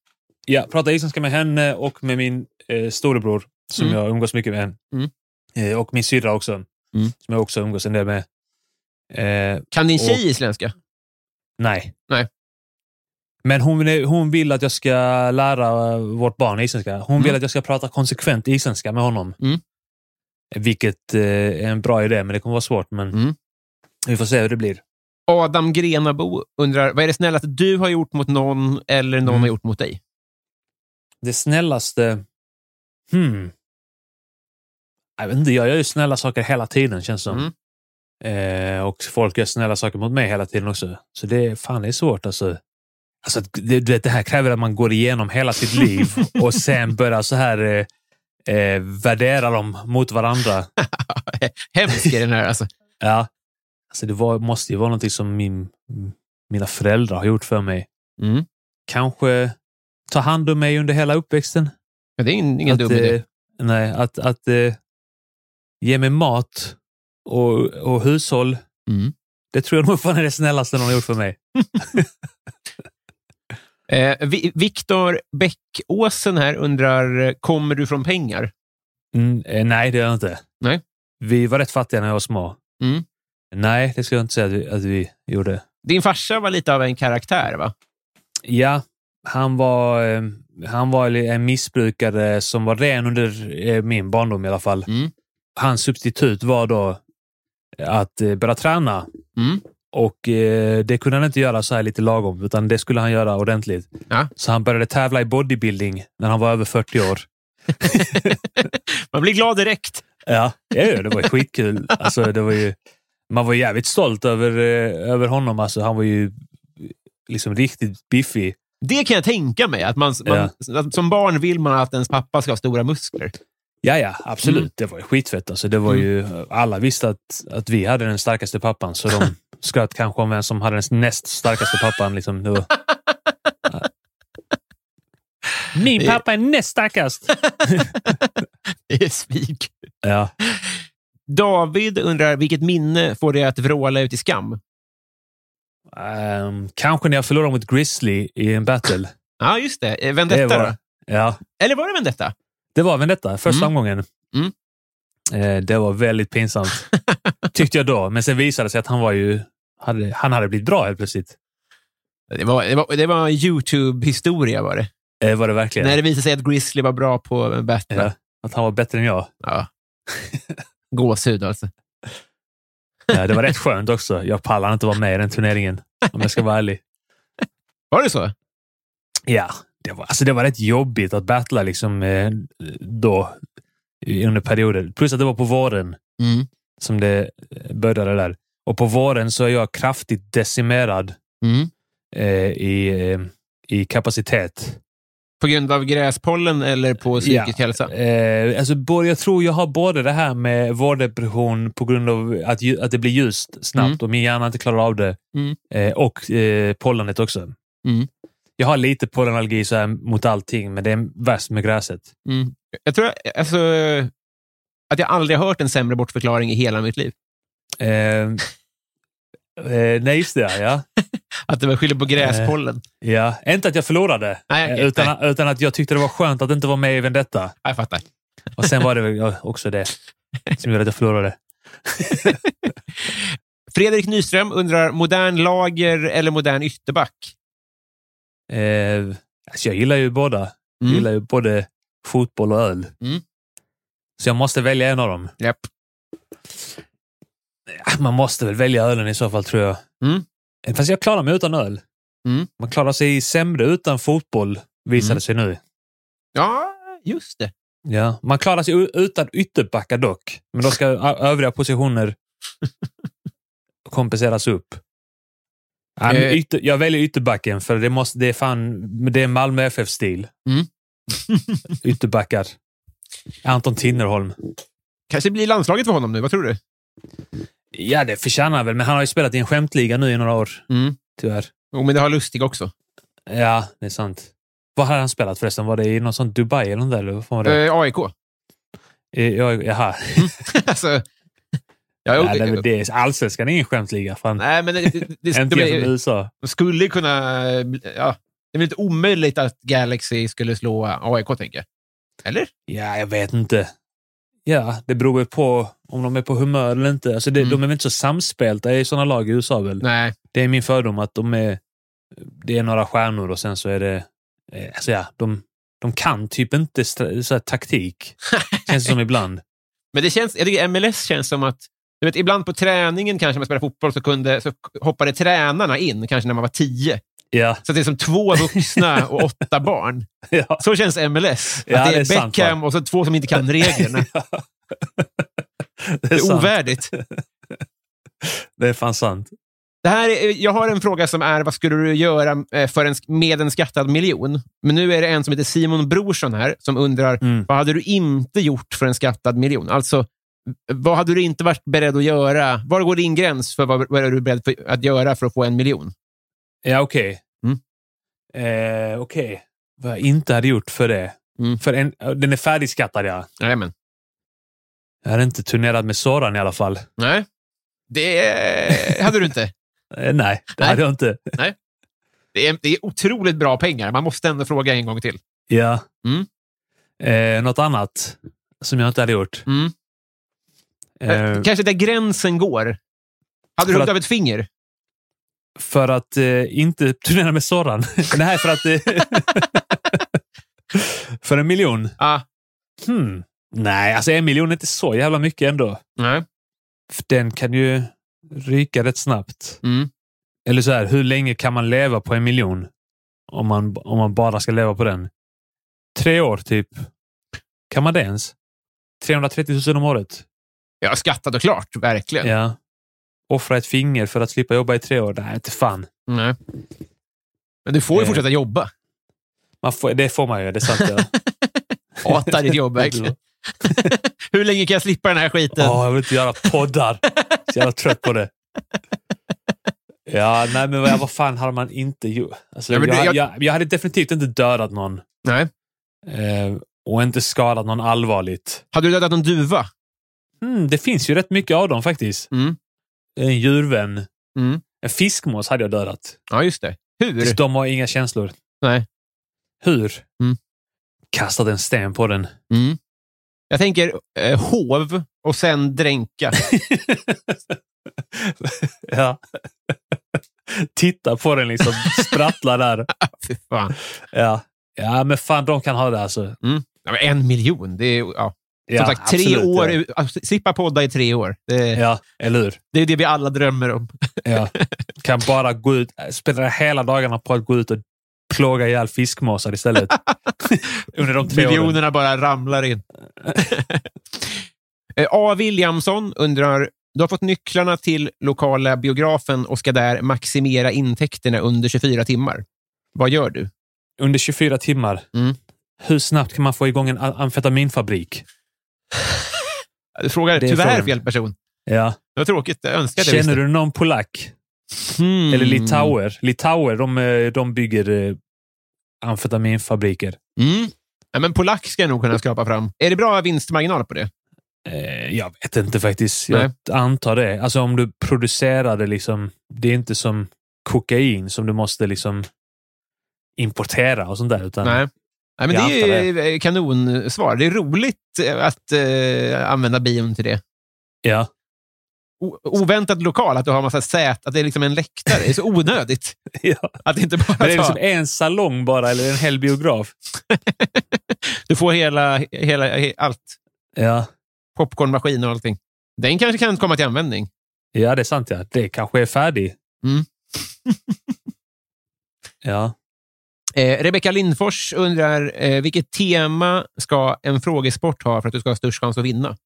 Speaker 2: Ja, pratade isländska med henne och med min eh, storebror som
Speaker 1: Mm.
Speaker 2: jag umgås mycket med.
Speaker 1: Mm.
Speaker 2: Eh, och min syrra också, som jag också umgås en del med. Eh,
Speaker 1: Kan din tjej
Speaker 2: Och-
Speaker 1: isländska?
Speaker 2: nej.
Speaker 1: Nej.
Speaker 2: Men hon, vill- hon vill att jag ska lära eh, vårt barn isländska. Hon vill att jag ska prata konsekvent isländska med honom.
Speaker 1: Mm.
Speaker 2: Vilket eh, är en bra idé, men det kommer vara svårt. Men
Speaker 1: Mm.
Speaker 2: Vi får se hur det blir.
Speaker 1: Adam Grenabo undrar, vad är det snällaste du har gjort mot någon eller någon
Speaker 2: Mm.
Speaker 1: har gjort mot dig?
Speaker 2: Det snällaste... Hmm. Jag vet inte, jag gör ju snälla saker hela tiden, känns som.
Speaker 1: Mm.
Speaker 2: Eh, och folk gör snälla saker mot mig hela tiden också. Så det är fan det är svårt alltså. alltså det, du vet, det här kräver att man går igenom hela sitt liv och sen börjar så här eh, eh, värdera dem mot varandra.
Speaker 1: Hemsk är den här alltså.
Speaker 2: Ja. Alltså det var, måste ju vara någonting som min, mina föräldrar har gjort för mig.
Speaker 1: Mm.
Speaker 2: Kanske ta hand om mig under hela uppväxten.
Speaker 1: Men det är ingen, ingen
Speaker 2: att,
Speaker 1: dum idé.
Speaker 2: eh, Nej, att, att eh, ge mig mat och, och hushåll.
Speaker 1: Mm.
Speaker 2: Det tror jag nog fan är det snällaste någon har gjort för mig.
Speaker 1: Eh, Vi- Viktor Bäckåsen här undrar, eh, kommer du från pengar?
Speaker 2: Mm, eh, nej, det gör jag inte.
Speaker 1: Nej.
Speaker 2: Vi var rätt fattiga när jag var små.
Speaker 1: Mm.
Speaker 2: Nej, det skulle jag inte säga att vi, att vi gjorde.
Speaker 1: Din farsa var lite av en karaktär, va?
Speaker 2: Ja, han var, eh, han var en missbrukare som var ren under eh, min barndom i alla fall.
Speaker 1: Mm.
Speaker 2: Hans substitut var då att eh, börja träna.
Speaker 1: Mm.
Speaker 2: Och eh, Det kunde han inte göra så här lite lagom, utan det skulle han göra ordentligt.
Speaker 1: Ja.
Speaker 2: Så han började tävla i bodybuilding när han var över 40 år.
Speaker 1: Man blir glad direkt.
Speaker 2: Ja, ja ja, det var ju skitkul. Alltså, det var ju, man var ju jävligt stolt över, eh, över honom. Alltså, han var ju liksom riktigt biffig.
Speaker 1: Det kan jag tänka mig. Att man, man, att Som barn vill man att ens pappa ska ha stora muskler.
Speaker 2: Ja, ja, absolut.
Speaker 1: Mm.
Speaker 2: Det var ju skitfett. Alltså, det var ju, alla visste att, att vi hade den starkaste pappan, så de skröt kanske om vem som hade den näst starkaste pappan. Liksom. Det var... Min pappa är näst starkast!
Speaker 1: Det är svik.
Speaker 2: Ja.
Speaker 1: David undrar, vilket minne får dig att vråla ut i skam?
Speaker 2: Ehm, kanske när jag förlorade mot Grizzly i en battle.
Speaker 1: Ja, just det. Eh, Vendetta,
Speaker 2: det
Speaker 1: då?
Speaker 2: var, ja,
Speaker 1: Eller var det Vendetta?
Speaker 2: det var Vendetta, första omgången.
Speaker 1: Mm.
Speaker 2: Eh, det var väldigt pinsamt, tyckte jag då. Men sen visade det sig att han var ju... Hade, han hade blivit bra helt plötsligt.
Speaker 1: Det var, det var, det var en YouTube-historia, var det.
Speaker 2: Eh, var det verkligen.
Speaker 1: När det visade sig att Grizzly var bra på Battle.
Speaker 2: ja, att han var bättre än jag.
Speaker 1: Ja. Gåshud, alltså.
Speaker 2: Ja, det var rätt skönt också. Jag pallar inte vara med i den turneringen, om jag ska vara ärlig.
Speaker 1: Var det så?
Speaker 2: Ja, det var, alltså det var rätt jobbigt att battla liksom, eh, då, i- under perioder. Plus att det var på våren
Speaker 1: Mm.
Speaker 2: som det eh, började där. Och på våren så är jag kraftigt decimerad
Speaker 1: Mm.
Speaker 2: eh, i, eh, i kapacitet.
Speaker 1: På grund av gräspollen eller på psykisk hälsa?
Speaker 2: Eh, alltså, både, jag tror jag har både det här med vårdepression på grund av att, ju- att det blir ljust snabbt
Speaker 1: Mm.
Speaker 2: och min hjärna inte klarar av det.
Speaker 1: Mm.
Speaker 2: Eh, och eh, pollenet också.
Speaker 1: Mm.
Speaker 2: Jag har lite pollenallergi så här mot allting, men det är värst med gräset.
Speaker 1: Mm. Jag tror alltså, att jag aldrig har hört en sämre bortförklaring i hela mitt liv.
Speaker 2: Eh, eh, nej, just det. Ja.
Speaker 1: Att det var skillnad på gräspollen.
Speaker 2: ja. ja. Inte att jag förlorade,
Speaker 1: Nej, okej,
Speaker 2: eh, utan, utan att jag tyckte det var skönt att inte vara med i Vendetta.
Speaker 1: Ja, Jag fattar.
Speaker 2: Och sen var det väl ja, också det som gjorde att jag förlorade.
Speaker 1: Fredrik Nyström undrar, modern lager eller modern ytterback?
Speaker 2: Eh, alltså jag gillar ju båda. Jag
Speaker 1: Mm.
Speaker 2: gillar ju både fotboll och öl.
Speaker 1: Mm.
Speaker 2: Så jag måste välja en av dem.
Speaker 1: Japp.
Speaker 2: Ah, Man måste väl välja ölen i så fall, tror jag.
Speaker 1: Mm.
Speaker 2: Eh, Fast jag klarar mig utan öl.
Speaker 1: Mm.
Speaker 2: Man klarar sig sämre utan fotboll, visar
Speaker 1: Mm.
Speaker 2: det sig nu.
Speaker 1: Ja, just det.
Speaker 2: Ja. Man klarar sig u- utan ytterbackar dock, men då ska ö- övriga positioner kompenseras upp. Ja, men
Speaker 1: Eh.
Speaker 2: ytter, jag väljer ytterbacken, för det, måste, det är fan det är Malmö FF-stil.
Speaker 1: Mm.
Speaker 2: Ytterbackar. Anton Tinnerholm.
Speaker 1: Kanske blir landslaget för honom nu, vad tror du?
Speaker 2: Ja, det förtjänar han väl, men han har ju spelat i en skämtliga nu i några år,
Speaker 1: Mm.
Speaker 2: tyvärr.
Speaker 1: Jo, men det har Lustig också.
Speaker 2: Ja, det är sant. Vad hade han spelat förresten? Var det i någon sån Dubai eller något där? Eller vad fan var det?
Speaker 1: Eh, AIK.
Speaker 2: Eh, jag- Jaha.
Speaker 1: alltså, ja, jo,
Speaker 2: Ja, det, är väl det, allsvenskan är ingen skämtliga. Fan.
Speaker 1: Nej, men det, det, det,
Speaker 2: Inte
Speaker 1: de,
Speaker 2: jämfört med
Speaker 1: är-
Speaker 2: USA.
Speaker 1: de skulle ju kunna... Ja, det är väl inte omöjligt att Galaxy skulle slå AIK, tänker jag. Eller?
Speaker 2: Ja, jag vet inte. Ja, det beror väl på om de är på humör eller inte. Alltså det,
Speaker 1: Mm.
Speaker 2: De är väl inte så samspelta i sådana lag i USA väl?
Speaker 1: Nej.
Speaker 2: Det är min fördom att de är... Det är några stjärnor och sen så är det... eh, Alltså ja, de, de kan typ inte stra- så här, taktik. Känns det som ibland.
Speaker 1: Men det känns, jag tycker MLS känns som att... Du vet, ibland på träningen kanske när man spelar fotboll så, kunde, så hoppade tränarna in, kanske när man var tio.
Speaker 2: Ja,
Speaker 1: Så att det är som två vuxna och åtta barn.
Speaker 2: ja.
Speaker 1: Så känns MLS.
Speaker 2: Ja,
Speaker 1: att det är,
Speaker 2: det är sant,
Speaker 1: Beckham och så två som inte kan reglerna.
Speaker 2: det
Speaker 1: Det
Speaker 2: är
Speaker 1: är
Speaker 2: sant.
Speaker 1: ovärdigt.
Speaker 2: Det är fan sant.
Speaker 1: Det här, är- jag har en fråga som är vad skulle du göra eh, för en, med en skattad miljon? Men nu är det en som heter Simon Brorsson här som undrar
Speaker 2: Mm.
Speaker 1: vad hade du inte gjort för en skattad miljon? Alltså, vad hade du inte varit beredd att göra? Var går din gräns för vad, vad är du beredd för, att göra för att få en miljon?
Speaker 2: Ja, okej.
Speaker 1: Mm.
Speaker 2: Eh, okej. Vad jag inte hade gjort för det.
Speaker 1: Mm.
Speaker 2: För en, den är färdigskattad, ja.
Speaker 1: Jajamän.
Speaker 2: Jag hade inte turnerat med Soran i alla fall.
Speaker 1: Nej, det eh, hade du inte.
Speaker 2: Eh, nej, det
Speaker 1: Nej.
Speaker 2: hade jag inte.
Speaker 1: Det är, det är otroligt bra pengar. Man måste ändå fråga en gång till.
Speaker 2: Ja.
Speaker 1: Mm.
Speaker 2: Eh, något annat som jag inte hade gjort?
Speaker 1: Mm.
Speaker 2: Eh,
Speaker 1: Kanske där gränsen går. Hade du
Speaker 2: För
Speaker 1: huggit
Speaker 2: att-
Speaker 1: av ett finger?
Speaker 2: för att eh, inte turnera med Soran. nej, för att... Eh, för en miljon?
Speaker 1: Ja.
Speaker 2: Hmm. Nej, alltså en miljon är inte så jävla mycket ändå.
Speaker 1: Nej.
Speaker 2: För Den kan ju ryka rätt snabbt.
Speaker 1: Mm.
Speaker 2: Eller så här, hur länge kan man leva på en miljon? Om man, om man bara ska leva på den. Tre år typ. Kan man det ens? 330 000 om året?
Speaker 1: Ja, skattat och klart. Verkligen.
Speaker 2: Ja. Offra ett finger för att slippa jobba i tre år? Nej, inte fan.
Speaker 1: Nej. Men du får ju
Speaker 2: Eh.
Speaker 1: fortsätta jobba.
Speaker 2: Man får, det får man ju, det är sant. Ja.
Speaker 1: Hatar ditt jobb verkligen. Hur länge kan jag slippa den här skiten?
Speaker 2: Åh, jag vill inte göra poddar. Så jävla trött på det. Ja, nej men vad, vad fan hade man inte gjort? Alltså,
Speaker 1: Ja, men
Speaker 2: jag,
Speaker 1: det-
Speaker 2: jag,
Speaker 1: jag-
Speaker 2: jag, hade definitivt inte dödat någon.
Speaker 1: Nej.
Speaker 2: Eh, och inte skadat någon allvarligt.
Speaker 1: Hade du dödat en duva?
Speaker 2: Mm, det finns ju rätt mycket av dem faktiskt.
Speaker 1: Mm.
Speaker 2: En djurvän.
Speaker 1: Mm.
Speaker 2: En fiskmås hade jag dödat.
Speaker 1: Ja, just det. Hur?
Speaker 2: Just De har inga känslor.
Speaker 1: Nej.
Speaker 2: Hur?
Speaker 1: Mm.
Speaker 2: Kastat en sten på den.
Speaker 1: Mm. Jag tänker eh, hov och sen dränka.
Speaker 2: ja. Titta på den liksom. Sprattla där.
Speaker 1: Fy fan.
Speaker 2: Ja. ja, men fan de kan ha det alltså.
Speaker 1: Ja, men en miljon. Det är, ja. Som
Speaker 2: Ja,
Speaker 1: sagt, tre
Speaker 2: absolut,
Speaker 1: år.
Speaker 2: ja.
Speaker 1: ut- att Slippa podda i tre år. Det,
Speaker 2: Ja, eller hur?
Speaker 1: det är det vi alla drömmer om.
Speaker 2: Ja. Kan bara gå ut, spendera hela dagarna på att gå ut och plåga ihjäl fiskmåsar istället. Under de tre åren.
Speaker 1: Miljonerna bara ramlar in. Eh, A. Williamson undrar, du har fått nycklarna till lokala biografen och ska där maximera intäkterna under 24 timmar. Vad gör du?
Speaker 2: under 24 timmar.
Speaker 1: Mm.
Speaker 2: Hur snabbt kan man få igång en a- amfetaminfabrik?
Speaker 1: Du frågar
Speaker 2: Det är
Speaker 1: tyvärr
Speaker 2: frågan.
Speaker 1: fel person.
Speaker 2: Ja.
Speaker 1: Det var tråkigt. Jag önskar att jag
Speaker 2: Känner du någon polack?
Speaker 1: visste. Hmm.
Speaker 2: Eller litauer? Litauer, de, eh, de bygger eh, amfetaminfabriker.
Speaker 1: Mm. Ja, men polack ska jag nog kunna skapa fram. Är det bra vinstmarginal på det?
Speaker 2: Eh, jag vet inte faktiskt. Jag
Speaker 1: Nej.
Speaker 2: antar det. Alltså om du producerar det liksom. Det är inte som kokain som du måste liksom importera och sånt där. Utan,
Speaker 1: Nej. Nej, men
Speaker 2: Jag
Speaker 1: det är ju eh, kanonsvar. Det är roligt eh, att eh, använda bion till det.
Speaker 2: Ja.
Speaker 1: O- oväntat lokal, att du har massa sät, att det är liksom en läktare. Det är så onödigt.
Speaker 2: ja.
Speaker 1: Att det inte bara
Speaker 2: Men det är
Speaker 1: tar-
Speaker 2: liksom en salong bara eller en hel biograf.
Speaker 1: Du får hela, hela, he- allt.
Speaker 2: Ja.
Speaker 1: Popcornmaskin och allting. Den kanske kan komma till användning.
Speaker 2: Ja, det är sant. Ja. Det kanske är färdig.
Speaker 1: Mm.
Speaker 2: ja.
Speaker 1: Eh, Rebecka Lindfors undrar, eh, vilket tema ska en frågesport ha för att du ska ha störst chans att vinna?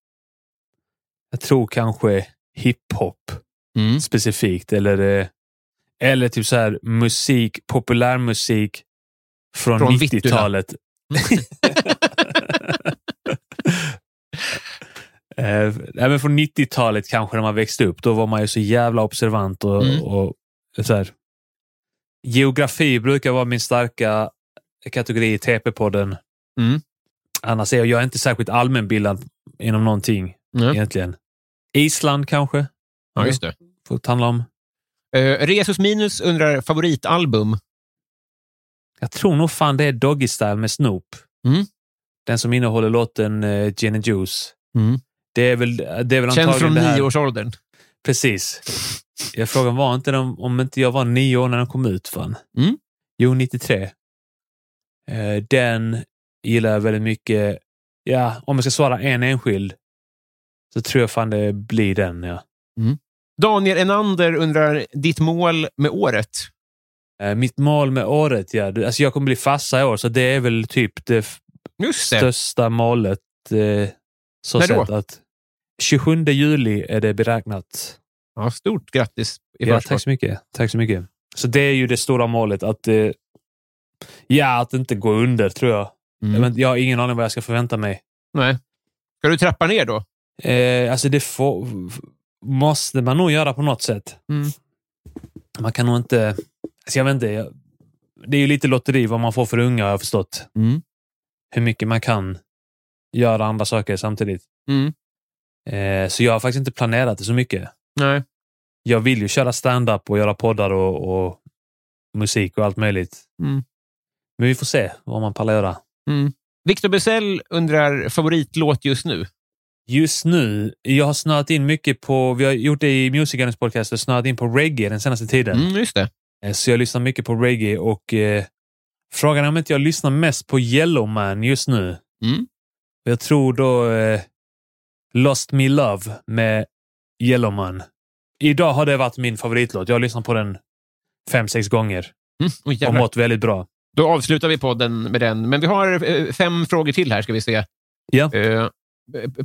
Speaker 2: Jag tror kanske hiphop
Speaker 1: Mm.
Speaker 2: specifikt. Eller, eh, eller typ så här musik, populärmusik från,
Speaker 1: Från
Speaker 2: 90-talet. eh, nej, men från 90-talet kanske när man växte upp. Då var man ju så jävla observant. och,
Speaker 1: Mm.
Speaker 2: och så här. Geografi brukar vara min starka kategori i TP-podden.
Speaker 1: Mm.
Speaker 2: Annars är jag, jag är inte särskilt allmänbildad inom någonting
Speaker 1: Nej.
Speaker 2: egentligen. Island kanske?
Speaker 1: Ja, just det.
Speaker 2: Får det handla om.
Speaker 1: Eh, Resus Minus undrar, favoritalbum?
Speaker 2: Jag tror nog fan det är Doggy Style med Snoop.
Speaker 1: Mm.
Speaker 2: Den som innehåller låten eh, Gin and Juice.
Speaker 1: Mm.
Speaker 2: Det är väl, det är väl
Speaker 1: Känns från
Speaker 2: antagligen det här.
Speaker 1: nioårsåldern.
Speaker 2: Precis. Jag frågar var inte den, om inte jag var nio år när den kom ut. Fan.
Speaker 1: Mm.
Speaker 2: Jo, 93. Eh, den gillar jag väldigt mycket. Ja, om jag ska svara en enskild så tror jag fan det blir den. Ja.
Speaker 1: Daniel Enander undrar, ditt mål med året?
Speaker 2: Eh, mitt mål med året, ja. du- Alltså jag kommer bli fassa i år, så det är väl typ det f-
Speaker 1: Just det.
Speaker 2: största målet. Eh, så
Speaker 1: När då?
Speaker 2: sett att 27 juli är det beräknat
Speaker 1: Ja, stort grattis i
Speaker 2: Ja,
Speaker 1: förskott.
Speaker 2: tack så mycket. Tack så mycket. Så det är ju det stora målet. Att, eh, ja, att inte gå under, tror jag.
Speaker 1: Mm.
Speaker 2: Men jag har ingen aning vad jag ska förvänta mig.
Speaker 1: Nej. Ska du trappa ner då?
Speaker 2: Eh, alltså det får, måste man nog göra på något sätt.
Speaker 1: Mm.
Speaker 2: Man kan nog inte... Alltså jag vet inte. Jag, det är ju lite lotteri vad man får för unga har jag förstått.
Speaker 1: Mm.
Speaker 2: Hur mycket man kan göra andra saker samtidigt.
Speaker 1: Mm.
Speaker 2: Eh, så jag har faktiskt inte planerat det så mycket.
Speaker 1: Nej.
Speaker 2: Jag vill ju köra stand-up och göra poddar och, och musik och allt möjligt.
Speaker 1: Mm.
Speaker 2: Men vi får se vad man pallar göra.
Speaker 1: Victor Bessell undrar favoritlåt just nu.
Speaker 2: Just nu, jag har snöat in mycket på, vi har gjort det i Music Gunners podcast, och snöat in på reggae den senaste tiden.
Speaker 1: Mm, just det.
Speaker 2: Eh, Så jag lyssnar mycket på reggae och eh, frågan är om inte jag lyssnar mest på Yellowman just nu.
Speaker 1: Mm.
Speaker 2: Och Jag tror då eh, Lost Me Love med Yellowman. Idag har det varit min favoritlåt. Jag har lyssnat på den fem, sex gånger
Speaker 1: Mm. oj,
Speaker 2: och
Speaker 1: jävlar.
Speaker 2: mått väldigt bra.
Speaker 1: Då avslutar vi podden med den. Men vi har eh, fem frågor till här, ska vi se.
Speaker 2: Ja.
Speaker 1: Eh,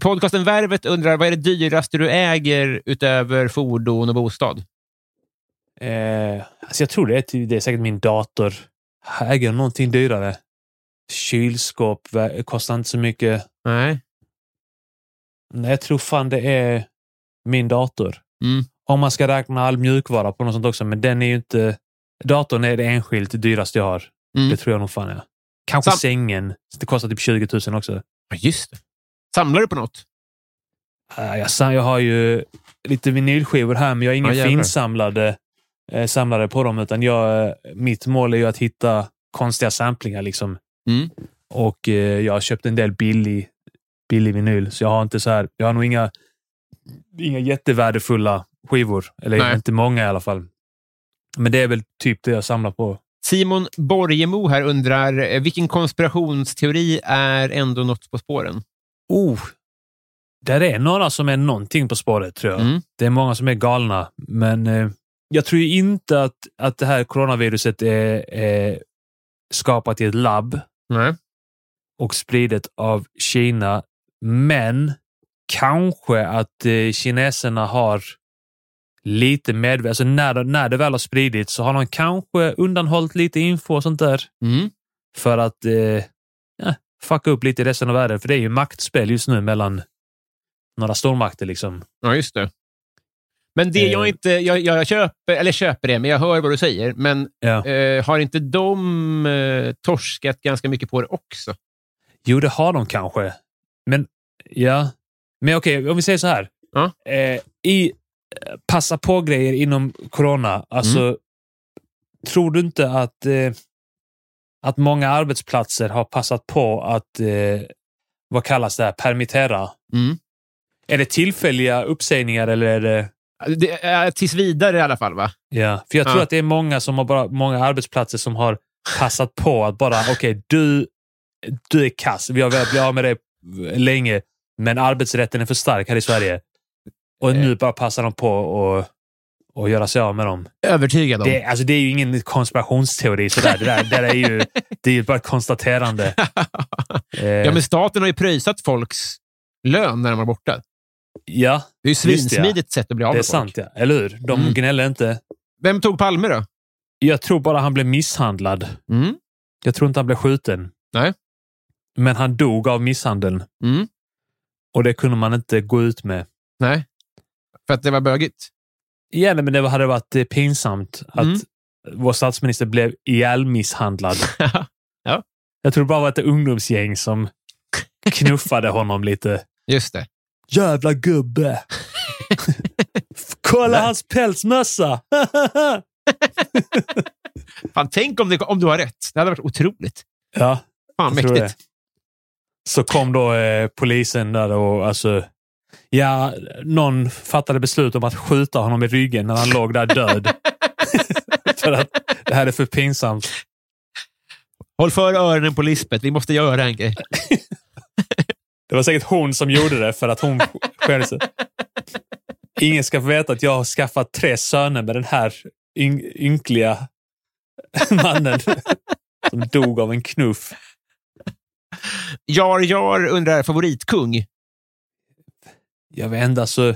Speaker 1: podcasten Värvet undrar, vad är det dyraste du äger utöver fordon och bostad?
Speaker 2: Eh, alltså jag tror det är, ty- det är säkert min dator. Här Äger jag någonting dyrare? Kylskåp vä- kostar inte så mycket.
Speaker 1: Nej.
Speaker 2: Nej, jag tror fan det är min dator.
Speaker 1: Mm.
Speaker 2: Om man ska räkna all mjukvara på något sånt också, men den är ju inte... Datorn är det enskilt dyraste jag har.
Speaker 1: Mm.
Speaker 2: Det tror jag nog fan är. Kanske
Speaker 1: Sam-
Speaker 2: sängen. Det kostar typ 20 000 också.
Speaker 1: Ja, just det. Samlar du på något?
Speaker 2: Äh, Jag, sa- jag har ju lite vinylskivor här, men jag är ingen
Speaker 1: Ja, jävlar.
Speaker 2: finsamlade eh, samlare på dem, utan jag, eh, mitt mål är ju att hitta konstiga samplingar. Liksom.
Speaker 1: Mm.
Speaker 2: Och eh, jag har köpt en del billig, billig vinyl, så jag har inte så här, jag har nog inga, inga jättevärdefulla skivor. Eller
Speaker 1: Nej.
Speaker 2: inte många i alla fall. Men det är väl typ det jag samlar på.
Speaker 1: Simon Borgemo här undrar, eh, vilken konspirationsteori är ändå något på spåren?
Speaker 2: Oh! Där är några som är någonting på spåret, tror jag.
Speaker 1: Mm.
Speaker 2: Det är många som är galna, men eh, jag tror ju inte att, att det här coronaviruset är, är skapat i ett labb
Speaker 1: Nej.
Speaker 2: och spridet av Kina. Men kanske att eh, kineserna har lite medvetet, alltså när, det- när det väl har spridits så har de kanske undanhållit lite info och sånt där
Speaker 1: Mm.
Speaker 2: för att eh, ja, fucka upp lite i resten av världen. För det är ju maktspel just nu mellan några stormakter. Liksom.
Speaker 1: Ja, just det. Men det jag
Speaker 2: Eh.
Speaker 1: inte... Jag, jag köper, eller köper det, men jag hör vad du säger. Men
Speaker 2: Ja.
Speaker 1: eh, har inte de eh, torskat ganska mycket på det också?
Speaker 2: Jo, det har de kanske. Men ja. Men okej, om vi säger så här.
Speaker 1: Ja.
Speaker 2: Eh, I eh, passa på-grejer inom corona. Alltså,
Speaker 1: Mm.
Speaker 2: tror du inte att, eh, att många arbetsplatser har passat på att, eh, vad kallas det här, permittera?
Speaker 1: Mm.
Speaker 2: Är det tillfälliga uppsägningar eller är det
Speaker 1: Det, eh, tills vidare i alla fall, va?
Speaker 2: Ja, för jag tror
Speaker 1: Ja.
Speaker 2: att det är många som har bara, många arbetsplatser som har passat på att bara, okej, du, du är kass. Vi har velat bli av med dig länge, men arbetsrätten är för stark här i Sverige. Och nu bara passar de på och, och göra sig av med dem.
Speaker 1: Övertygad om.
Speaker 2: Det, alltså, det är ju ingen konspirationsteori sådär. Det, där, det, där är, ju, det är ju bara ett konstaterande. Eh,
Speaker 1: ja, men staten har ju pröjsat folks lön när de var borta.
Speaker 2: ja,
Speaker 1: Det är ju
Speaker 2: det, ja.
Speaker 1: svinsmidigt sätt att bli av
Speaker 2: det är
Speaker 1: med folk.
Speaker 2: sant. Ja. Eller hur? De
Speaker 1: Mm.
Speaker 2: gnäller inte.
Speaker 1: Vem tog Palme då?
Speaker 2: Jag tror bara han blev misshandlad.
Speaker 1: Mm.
Speaker 2: Jag tror inte han blev skjuten.
Speaker 1: Nej.
Speaker 2: Men han dog av misshandeln.
Speaker 1: Mm.
Speaker 2: Och det kunde man inte gå ut med.
Speaker 1: Nej. För att det var bögigt?
Speaker 2: Ja, nej, men det hade varit eh, pinsamt att
Speaker 1: Mm.
Speaker 2: vår statsminister blev ihjälmisshandlad.
Speaker 1: Ja.
Speaker 2: Jag tror det bara var ett ungdomsgäng som knuffade honom lite.
Speaker 1: Just det.
Speaker 2: Jävla gubbe! Kolla hans pälsmössa!
Speaker 1: Fan, tänk om, det, om du har rätt. Det hade varit otroligt.
Speaker 2: ja,
Speaker 1: Fan,
Speaker 2: Jag tror
Speaker 1: mäktigt.
Speaker 2: Så kom då eh, polisen där och alltså, ja, någon fattade beslut om att skjuta honom i ryggen när han låg där död. för att det här är för pinsamt.
Speaker 1: Håll för öronen på Lisbeth. Vi måste göra en grej.
Speaker 2: Det var säkert hon som gjorde det för att hon skämdes. Ingen ska få veta att jag har skaffat tre söner med den här yng- ynkliga mannen som dog av en knuff.
Speaker 1: Jar Jar undrar favoritkung.
Speaker 2: Jag vet inte, alltså.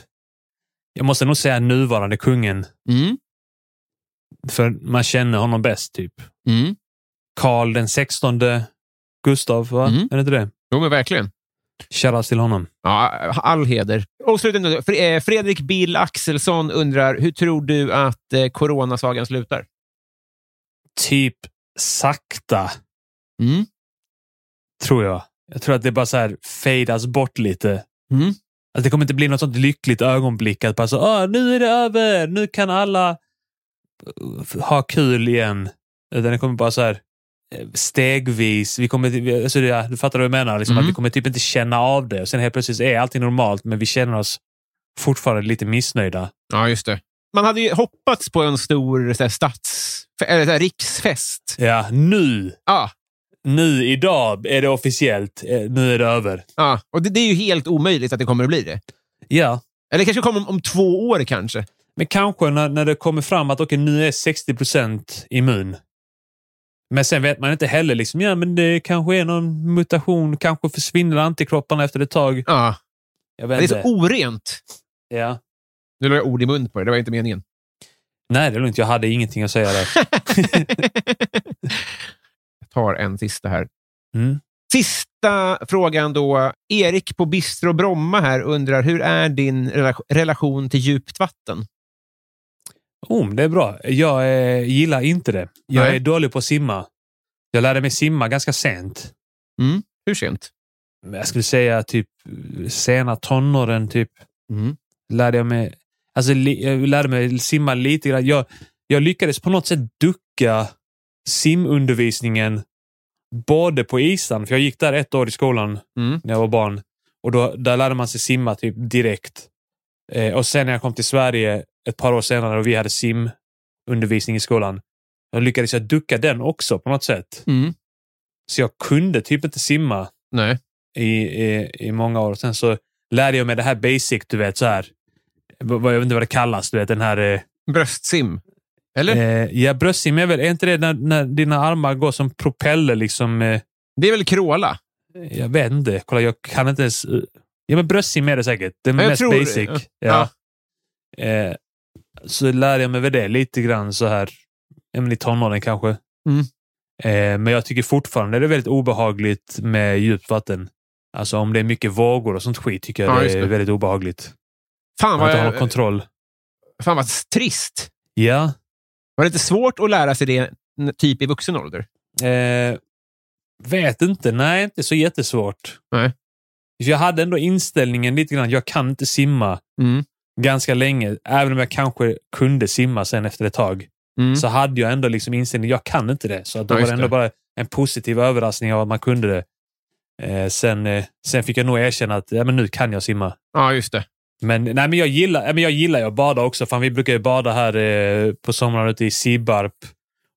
Speaker 2: Jag måste nog säga nuvarande kungen,
Speaker 1: Mm.
Speaker 2: för man känner honom bäst. typ.
Speaker 1: Mm.
Speaker 2: Karl den 16 Gustav, va?
Speaker 1: Mm.
Speaker 2: Är det inte det?
Speaker 1: Jo, men verkligen.
Speaker 2: Shoutout till honom.
Speaker 1: Ja, all heder. Och slutligen, då, Fre- eh, Fredrik Bill Axelsson undrar, hur tror du att eh, coronasagan slutar?
Speaker 2: Typ sakta,
Speaker 1: Mm.
Speaker 2: tror jag. Jag tror att det bara så här fadas bort lite.
Speaker 1: Mm.
Speaker 2: Alltså det kommer inte bli något sånt lyckligt ögonblick att bara så, ah, nu är det över, nu kan alla eh, ha kul igen. Utan det kommer bara så här eh, stegvis. Vi kommer, vi- alltså det, du fattar vad jag menar? Liksom
Speaker 1: Mm.
Speaker 2: att vi kommer typ inte känna av det. Och sen helt plötsligt är allting normalt, men vi känner oss fortfarande lite missnöjda.
Speaker 1: Ja, just det. Man hade ju hoppats på en stor så här, stats... Eller så här, riksfest.
Speaker 2: Ja, nu!
Speaker 1: Ja,
Speaker 2: Nu idag är det officiellt. Eh, Nu är det över.
Speaker 1: ja. Och det, det är ju helt omöjligt att det kommer att bli det.
Speaker 2: Ja.
Speaker 1: Eller kanske kommer om, om två år kanske.
Speaker 2: Men kanske när, när det kommer fram att okej, nu är 60 immun. Men sen vet man inte heller. Liksom, ja, men det kanske är någon mutation. Kanske försvinner antikropparna efter ett tag.
Speaker 1: Ja.
Speaker 2: Jag
Speaker 1: Det
Speaker 2: vet
Speaker 1: är så
Speaker 2: inte.
Speaker 1: orent.
Speaker 2: Ja.
Speaker 1: Nu la jag ord i mun på det. Det var inte meningen.
Speaker 2: Nej, det är lugnt. Jag hade ingenting att säga där.
Speaker 1: jag tar en sista här.
Speaker 2: Mm.
Speaker 1: Sista frågan då. Erik på Bistro Bromma här undrar, hur är din rela- relation till djupt vatten?
Speaker 2: Oh, men det är bra. Jag eh, gillar inte det. Jag
Speaker 1: Nej.
Speaker 2: är dålig på att simma. Jag lärde mig simma ganska sent.
Speaker 1: Hur sent?
Speaker 2: jag skulle säga typ sena tonåren typ.
Speaker 1: Mm.
Speaker 2: Lärde jag mig, alltså li, jag lärde mig simma lite grann. Jag, jag lyckades på något sätt ducka simundervisningen både på isan, för jag gick där ett år i skolan
Speaker 1: Mm.
Speaker 2: när jag var barn. Och då, där lärde man sig simma typ direkt. Eh, och sen när jag kom till Sverige ett par år senare och vi hade simundervisning i skolan, då lyckades jag ducka den också på något sätt.
Speaker 1: Mm.
Speaker 2: Så jag kunde typ inte simma
Speaker 1: Nej.
Speaker 2: i, i, i många år. Sen så lärde jag mig det här basic, du vet, så här. v- vad- Jag vet inte vad det kallas, du vet, den här... eh,
Speaker 1: Bröstsim? Eller?
Speaker 2: Eh, ja, bröstsim är väl... Är inte det när, när dina armar går som propeller, liksom? Eh,
Speaker 1: Det är väl kråla?
Speaker 2: jag vet inte. Kolla, jag kan inte ens... eh, Ja, men bröstsim är det säkert. Det är
Speaker 1: jag
Speaker 2: mest
Speaker 1: tror det,
Speaker 2: basic.
Speaker 1: ja.
Speaker 2: Ja. Eh, så lärde jag mig väl det lite grann så här, ja, men i tonåren kanske.
Speaker 1: Mm.
Speaker 2: Eh, men jag tycker fortfarande det är väldigt obehagligt med djupt vatten. Alltså om det är mycket vågor och sånt skit tycker jag
Speaker 1: Ja,
Speaker 2: det
Speaker 1: just
Speaker 2: är
Speaker 1: det.
Speaker 2: väldigt obehagligt.
Speaker 1: Fan
Speaker 2: Man har
Speaker 1: vad,
Speaker 2: inte har någon
Speaker 1: jag,
Speaker 2: kontroll.
Speaker 1: fan vad trist.
Speaker 2: Ja.
Speaker 1: Var det inte svårt att lära sig det n- typ i vuxen ålder?
Speaker 2: Eh, vet inte. Nej, inte så jättesvårt.
Speaker 1: Nej.
Speaker 2: För Jag hade ändå inställningen lite grann, jag kan inte simma
Speaker 1: Mm.
Speaker 2: ganska länge. Även om jag kanske kunde simma sen efter ett tag.
Speaker 1: Mm.
Speaker 2: så hade jag ändå liksom inställningen, jag kan inte det. Så att då
Speaker 1: Ja,
Speaker 2: var
Speaker 1: just
Speaker 2: det ändå
Speaker 1: det.
Speaker 2: bara en positiv överraskning av att man kunde det. Eh, sen, eh, sen fick jag nog erkänna att ja, men nu kan jag simma.
Speaker 1: Ja, just det.
Speaker 2: Men, nej, men jag gillar ja, men jag gillar ju att bada också. Fan, vi brukar ju bada här eh, på sommaren ute i Sibbarp.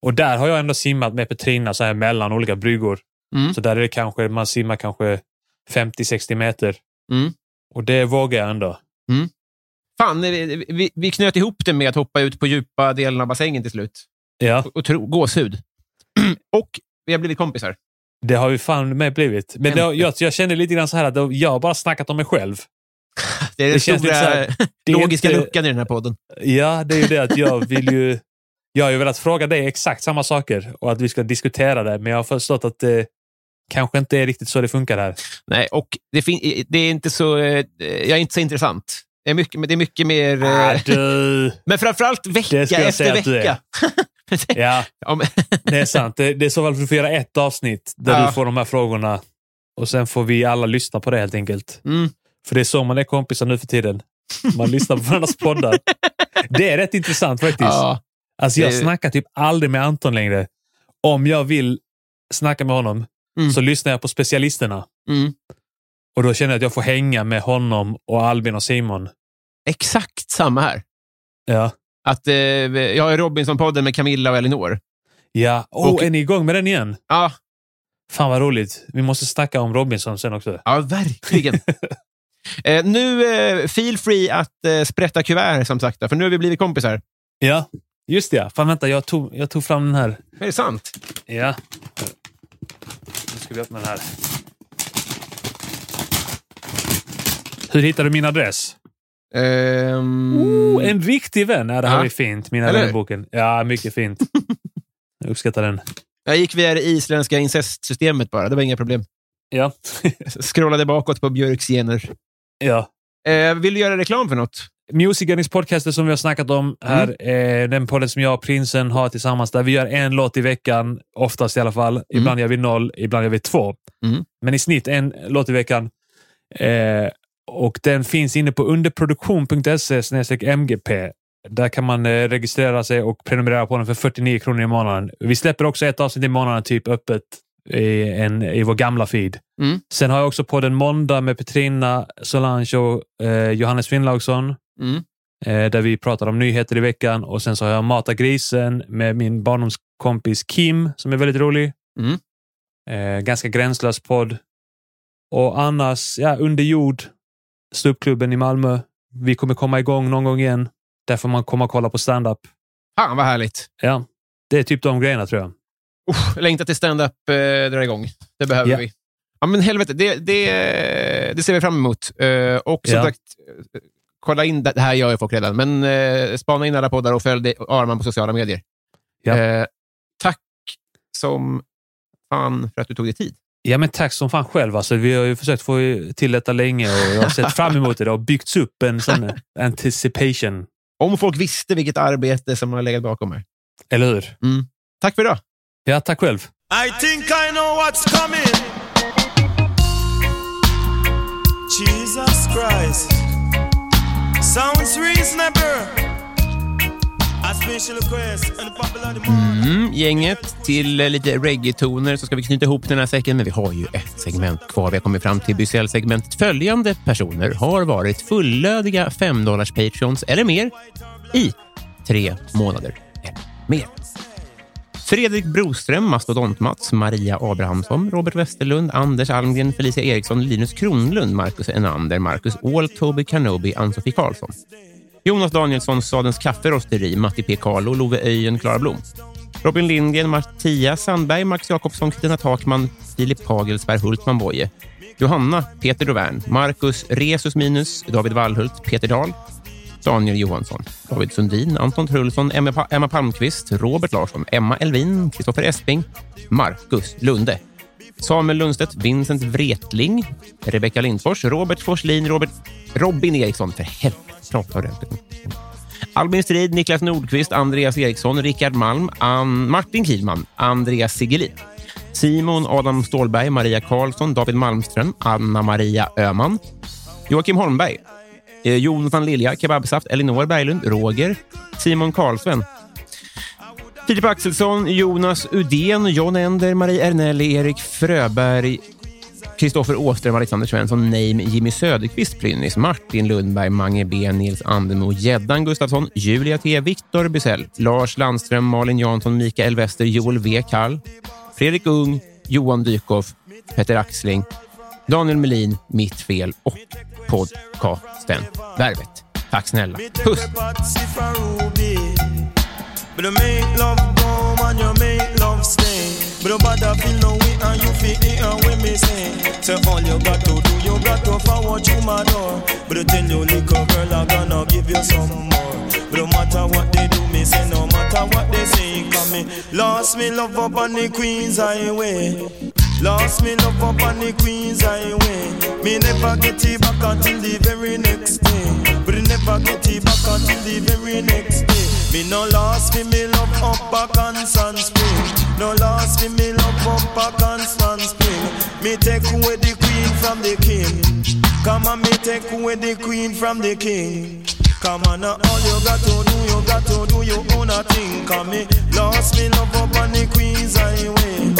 Speaker 2: Och där har jag ändå simmat med Petrina så här mellan olika bryggor.
Speaker 1: Mm.
Speaker 2: Så där är det kanske, man simmar kanske 50-60 meter.
Speaker 1: Mm.
Speaker 2: Och det vågar jag ändå.
Speaker 1: Fan, vi, vi, vi knöt ihop det med att hoppa ut på djupa delen av bassängen till slut.
Speaker 2: Ja,
Speaker 1: Och, och tro, gåshud. och vi har blivit kompisar.
Speaker 2: det har ju fan med blivit. Men det, har- jag, jag känner lite grann så här att det- jag har bara snackat om mig själv.
Speaker 1: Det är den
Speaker 2: Det känns
Speaker 1: stora
Speaker 2: lite Det är
Speaker 1: logiska
Speaker 2: inte-
Speaker 1: luckan i den här podden.
Speaker 2: Ja, det är ju det att jag vill ju... Jag har ju velat fråga dig exakt samma saker och att vi ska diskutera det, men jag har förstått att det kanske inte är riktigt så det funkar här.
Speaker 1: Nej, och det, fin- det är inte så... eh, Jag är inte så intressant. Det är mycket, men det är mycket mer... eh,
Speaker 2: Ah, du!
Speaker 1: Men framförallt vecka
Speaker 2: Det ska jag
Speaker 1: efter
Speaker 2: säga att du
Speaker 1: vecka.
Speaker 2: är. Ja,
Speaker 1: Ja, men,
Speaker 2: det är sant. Det, det är så väl att du får göra ett avsnitt där
Speaker 1: Ja.
Speaker 2: du får de här frågorna och sen får vi alla lyssna på det helt enkelt.
Speaker 1: Mm.
Speaker 2: För det är så man är kompisar nu för tiden. Man lyssnar på varandras poddar. Det är rätt intressant faktiskt.
Speaker 1: ja.
Speaker 2: Alltså jag
Speaker 1: Det-
Speaker 2: snackar typ aldrig med Anton längre. Om jag vill snacka med honom
Speaker 1: Mm.
Speaker 2: så lyssnar jag på specialisterna.
Speaker 1: Mm.
Speaker 2: Och då känner jag att jag får hänga med honom och Albin och Simon.
Speaker 1: Exakt samma här.
Speaker 2: Ja.
Speaker 1: Att, eh, jag har ju Robinson-podden med Camilla och Elinor.
Speaker 2: Ja. Oh,
Speaker 1: Och-
Speaker 2: Är ni igång med den igen?
Speaker 1: Ja,
Speaker 2: Fan vad roligt. Vi måste snacka om Robinson sen också.
Speaker 1: ja verkligen. eh, nu, eh, feel free att eh, sprätta kuvert, som sagt. För nu har vi blivit kompisar.
Speaker 2: Ja, just det. ja. Fan vänta, jag tog, jag tog fram den här.
Speaker 1: Är det sant?
Speaker 2: Ja. Nu ska vi öppna den här. Hur hittar du min adress?
Speaker 1: Ehm,
Speaker 2: Oh, en riktig vän. Ja, det här
Speaker 1: Ja.
Speaker 2: är fint. Mina
Speaker 1: Eller?
Speaker 2: vännerboken. Ja, mycket fint. Jag uppskattar den.
Speaker 1: Jag gick via det isländska incestsystemet bara. Det var inga problem.
Speaker 2: Ja.
Speaker 1: Scrollade bakåt på Björks gener.
Speaker 2: ja.
Speaker 1: Eh, vill du göra reklam för något?
Speaker 2: Music Gunnings podcaster som vi har snackat om
Speaker 1: Mm.
Speaker 2: här. Eh, den podden som jag och prinsen har tillsammans där vi gör en låt i veckan, oftast i alla fall. Ibland gör vi noll, ibland gör vi två.
Speaker 1: Mm.
Speaker 2: Men i snitt en låt i veckan. Eh, och den finns inne på underproduktion.se snedstreck mgp. Där kan man eh, registrera sig och prenumerera på den för 49 kronor i månaden. Vi släpper också ett avsnitt i månaden typ öppet i, en, i vår gamla feed.
Speaker 1: Mm.
Speaker 2: Sen har jag också på den måndag med Petrina Solange och eh, Johannes Finnlaugsson.
Speaker 1: Mm.
Speaker 2: Eh, där vi pratar om nyheter i veckan och sen så har jag Mata grisen med min barndomskompis Kim som är väldigt rolig.
Speaker 1: Mm.
Speaker 2: Eh, ganska gränslös podd. Och annars, ja, Under jord, ståuppklubben i Malmö. Vi kommer komma igång någon gång igen. Där får man komma och kolla på stand-up.
Speaker 1: Fan vad härligt.
Speaker 2: Ja, det är typ de grejerna tror jag.
Speaker 1: Usch, längtar till stand-up eh, drar igång. Det behöver
Speaker 2: Ja.
Speaker 1: vi. Ja, men helvete. Det, det, det ser vi fram emot. Eh, och som
Speaker 2: Ja.
Speaker 1: sagt, eh, kolla in... Det här gör ju folk redan, men eh, spana in alla poddar och följ det- Arman på sociala medier.
Speaker 2: Ja.
Speaker 1: Eh, tack som fan för att du tog dig tid.
Speaker 2: Ja, men tack som fan själv. Alltså, vi har ju försökt få till detta länge och jag har sett fram emot det. Det har byggts upp en sån anticipation.
Speaker 1: Om folk visste vilket arbete som har legat bakom här.
Speaker 2: Eller hur?
Speaker 1: Tack för idag.
Speaker 2: Ja, tack själv.
Speaker 4: I think I know what's coming. Jesus Christ. Sounds reasonable. A special request on the popular demand.
Speaker 1: Mm, gänget, till eh, lite reggaetoner så ska vi knyta ihop den här säcken, men vi har ju ett segment kvar. Vi har kommit fram till Bysell-segmentet. Följande personer har varit fullödiga 5 dollars patreons eller mer i tre månader eller mer. Fredrik Broström, Mastodont-Mats, Maria Abrahamsson, Robert Westerlund, Anders Almgren, Felicia Eriksson, Linus Kronlund, Marcus Enander, Marcus Åhl, Toby Kanobi, Ann-Sofie Karlsson. Jonas Danielsson, Stadens Kaffe Rosteri, Matti P. Carlo, Love Öjen, Klara Blom. Robin Lindgren, Mattias Sandberg, Max Jakobsson, Kristina Takman, Filip Hagelsberg, Hultman Boye. Johanna, Peter Dovern, Marcus Resus Minus, David Wallhult, Peter Dahl, Daniel Johansson, David Sundin, Anton Trulsson, Emma, pa- Emma Palmqvist, Robert Larsson, Emma Elvin, Kristoffer Esping, Marcus Lunde. Samuel Lundstedt, Vincent Wretling, Rebecka Lindfors, Robert Forslin, Robert, Robin Eriksson. För helvete, prata ordentligt nu. Albin Strid, Niklas Nordqvist, Andreas Eriksson, Rickard Malm, Ann Martin Kilman, Andreas Sigelin. Simon Adam Ståhlberg, Maria Karlsson, David Malmström, Anna-Maria Öman, Joakim Holmberg, eh, Jonathan Lilja, Kebabsaft, Elinor Berglund, Roger, Simon Karlsven, Filip Axelsson, Jonas Udén, John Ender, Marie Ernelli, Erik Fröberg, Kristoffer Åström, Alexander Svensson, Neim, Jimmy Söderqvist, Prynnis, Martin Lundberg, Mange B, Nils Andemo, Gäddan Gustafsson, Julia T, Viktor Bysell, Lars Landström, Malin Jansson, Mikael Wester, Joel V. Kall, Fredrik Ung, Johan Dykhoff, Peter Axling, Daniel Melin, Mitt Fel och podcasten Värvet. Tack snälla. Puss!
Speaker 4: Patsy for Ruby. But you make love bomb and you make love stay. But you bother feel no way and you feel it and we me say. So all you got to do, you got to forward to my door. But you tell your little girl I'm gonna give you some more. But no matter what they do, me say no matter what they say, come me lost me love up on the Queens Highway. Lost me love up on the Queens Highway. Me never get it back until the very next day. But it never get it back until the very next day. Me no lost me, me love up back on Sun Spring. No lost me, me love up back on Sun Spring. Me take away the queen from the king. Come on, me take away the queen from the king. Come on, now all you got to do, you got to do your own a thing. Come me lost me love up on the Queens Highway.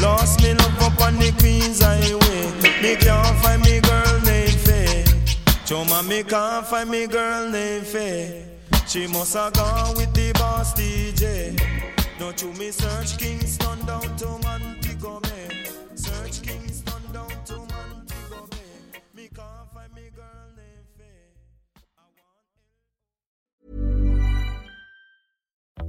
Speaker 4: Lost me love up on the Queens Highway. Me can't find me girl named Faye. Choma, me can't find me girl named Faye. She must have gone with the boss DJ. Don't you me search Kingston down to Montego Bay. Search Kingston down to Montego Bay. Me can't find me girl named Faye.
Speaker 5: Cool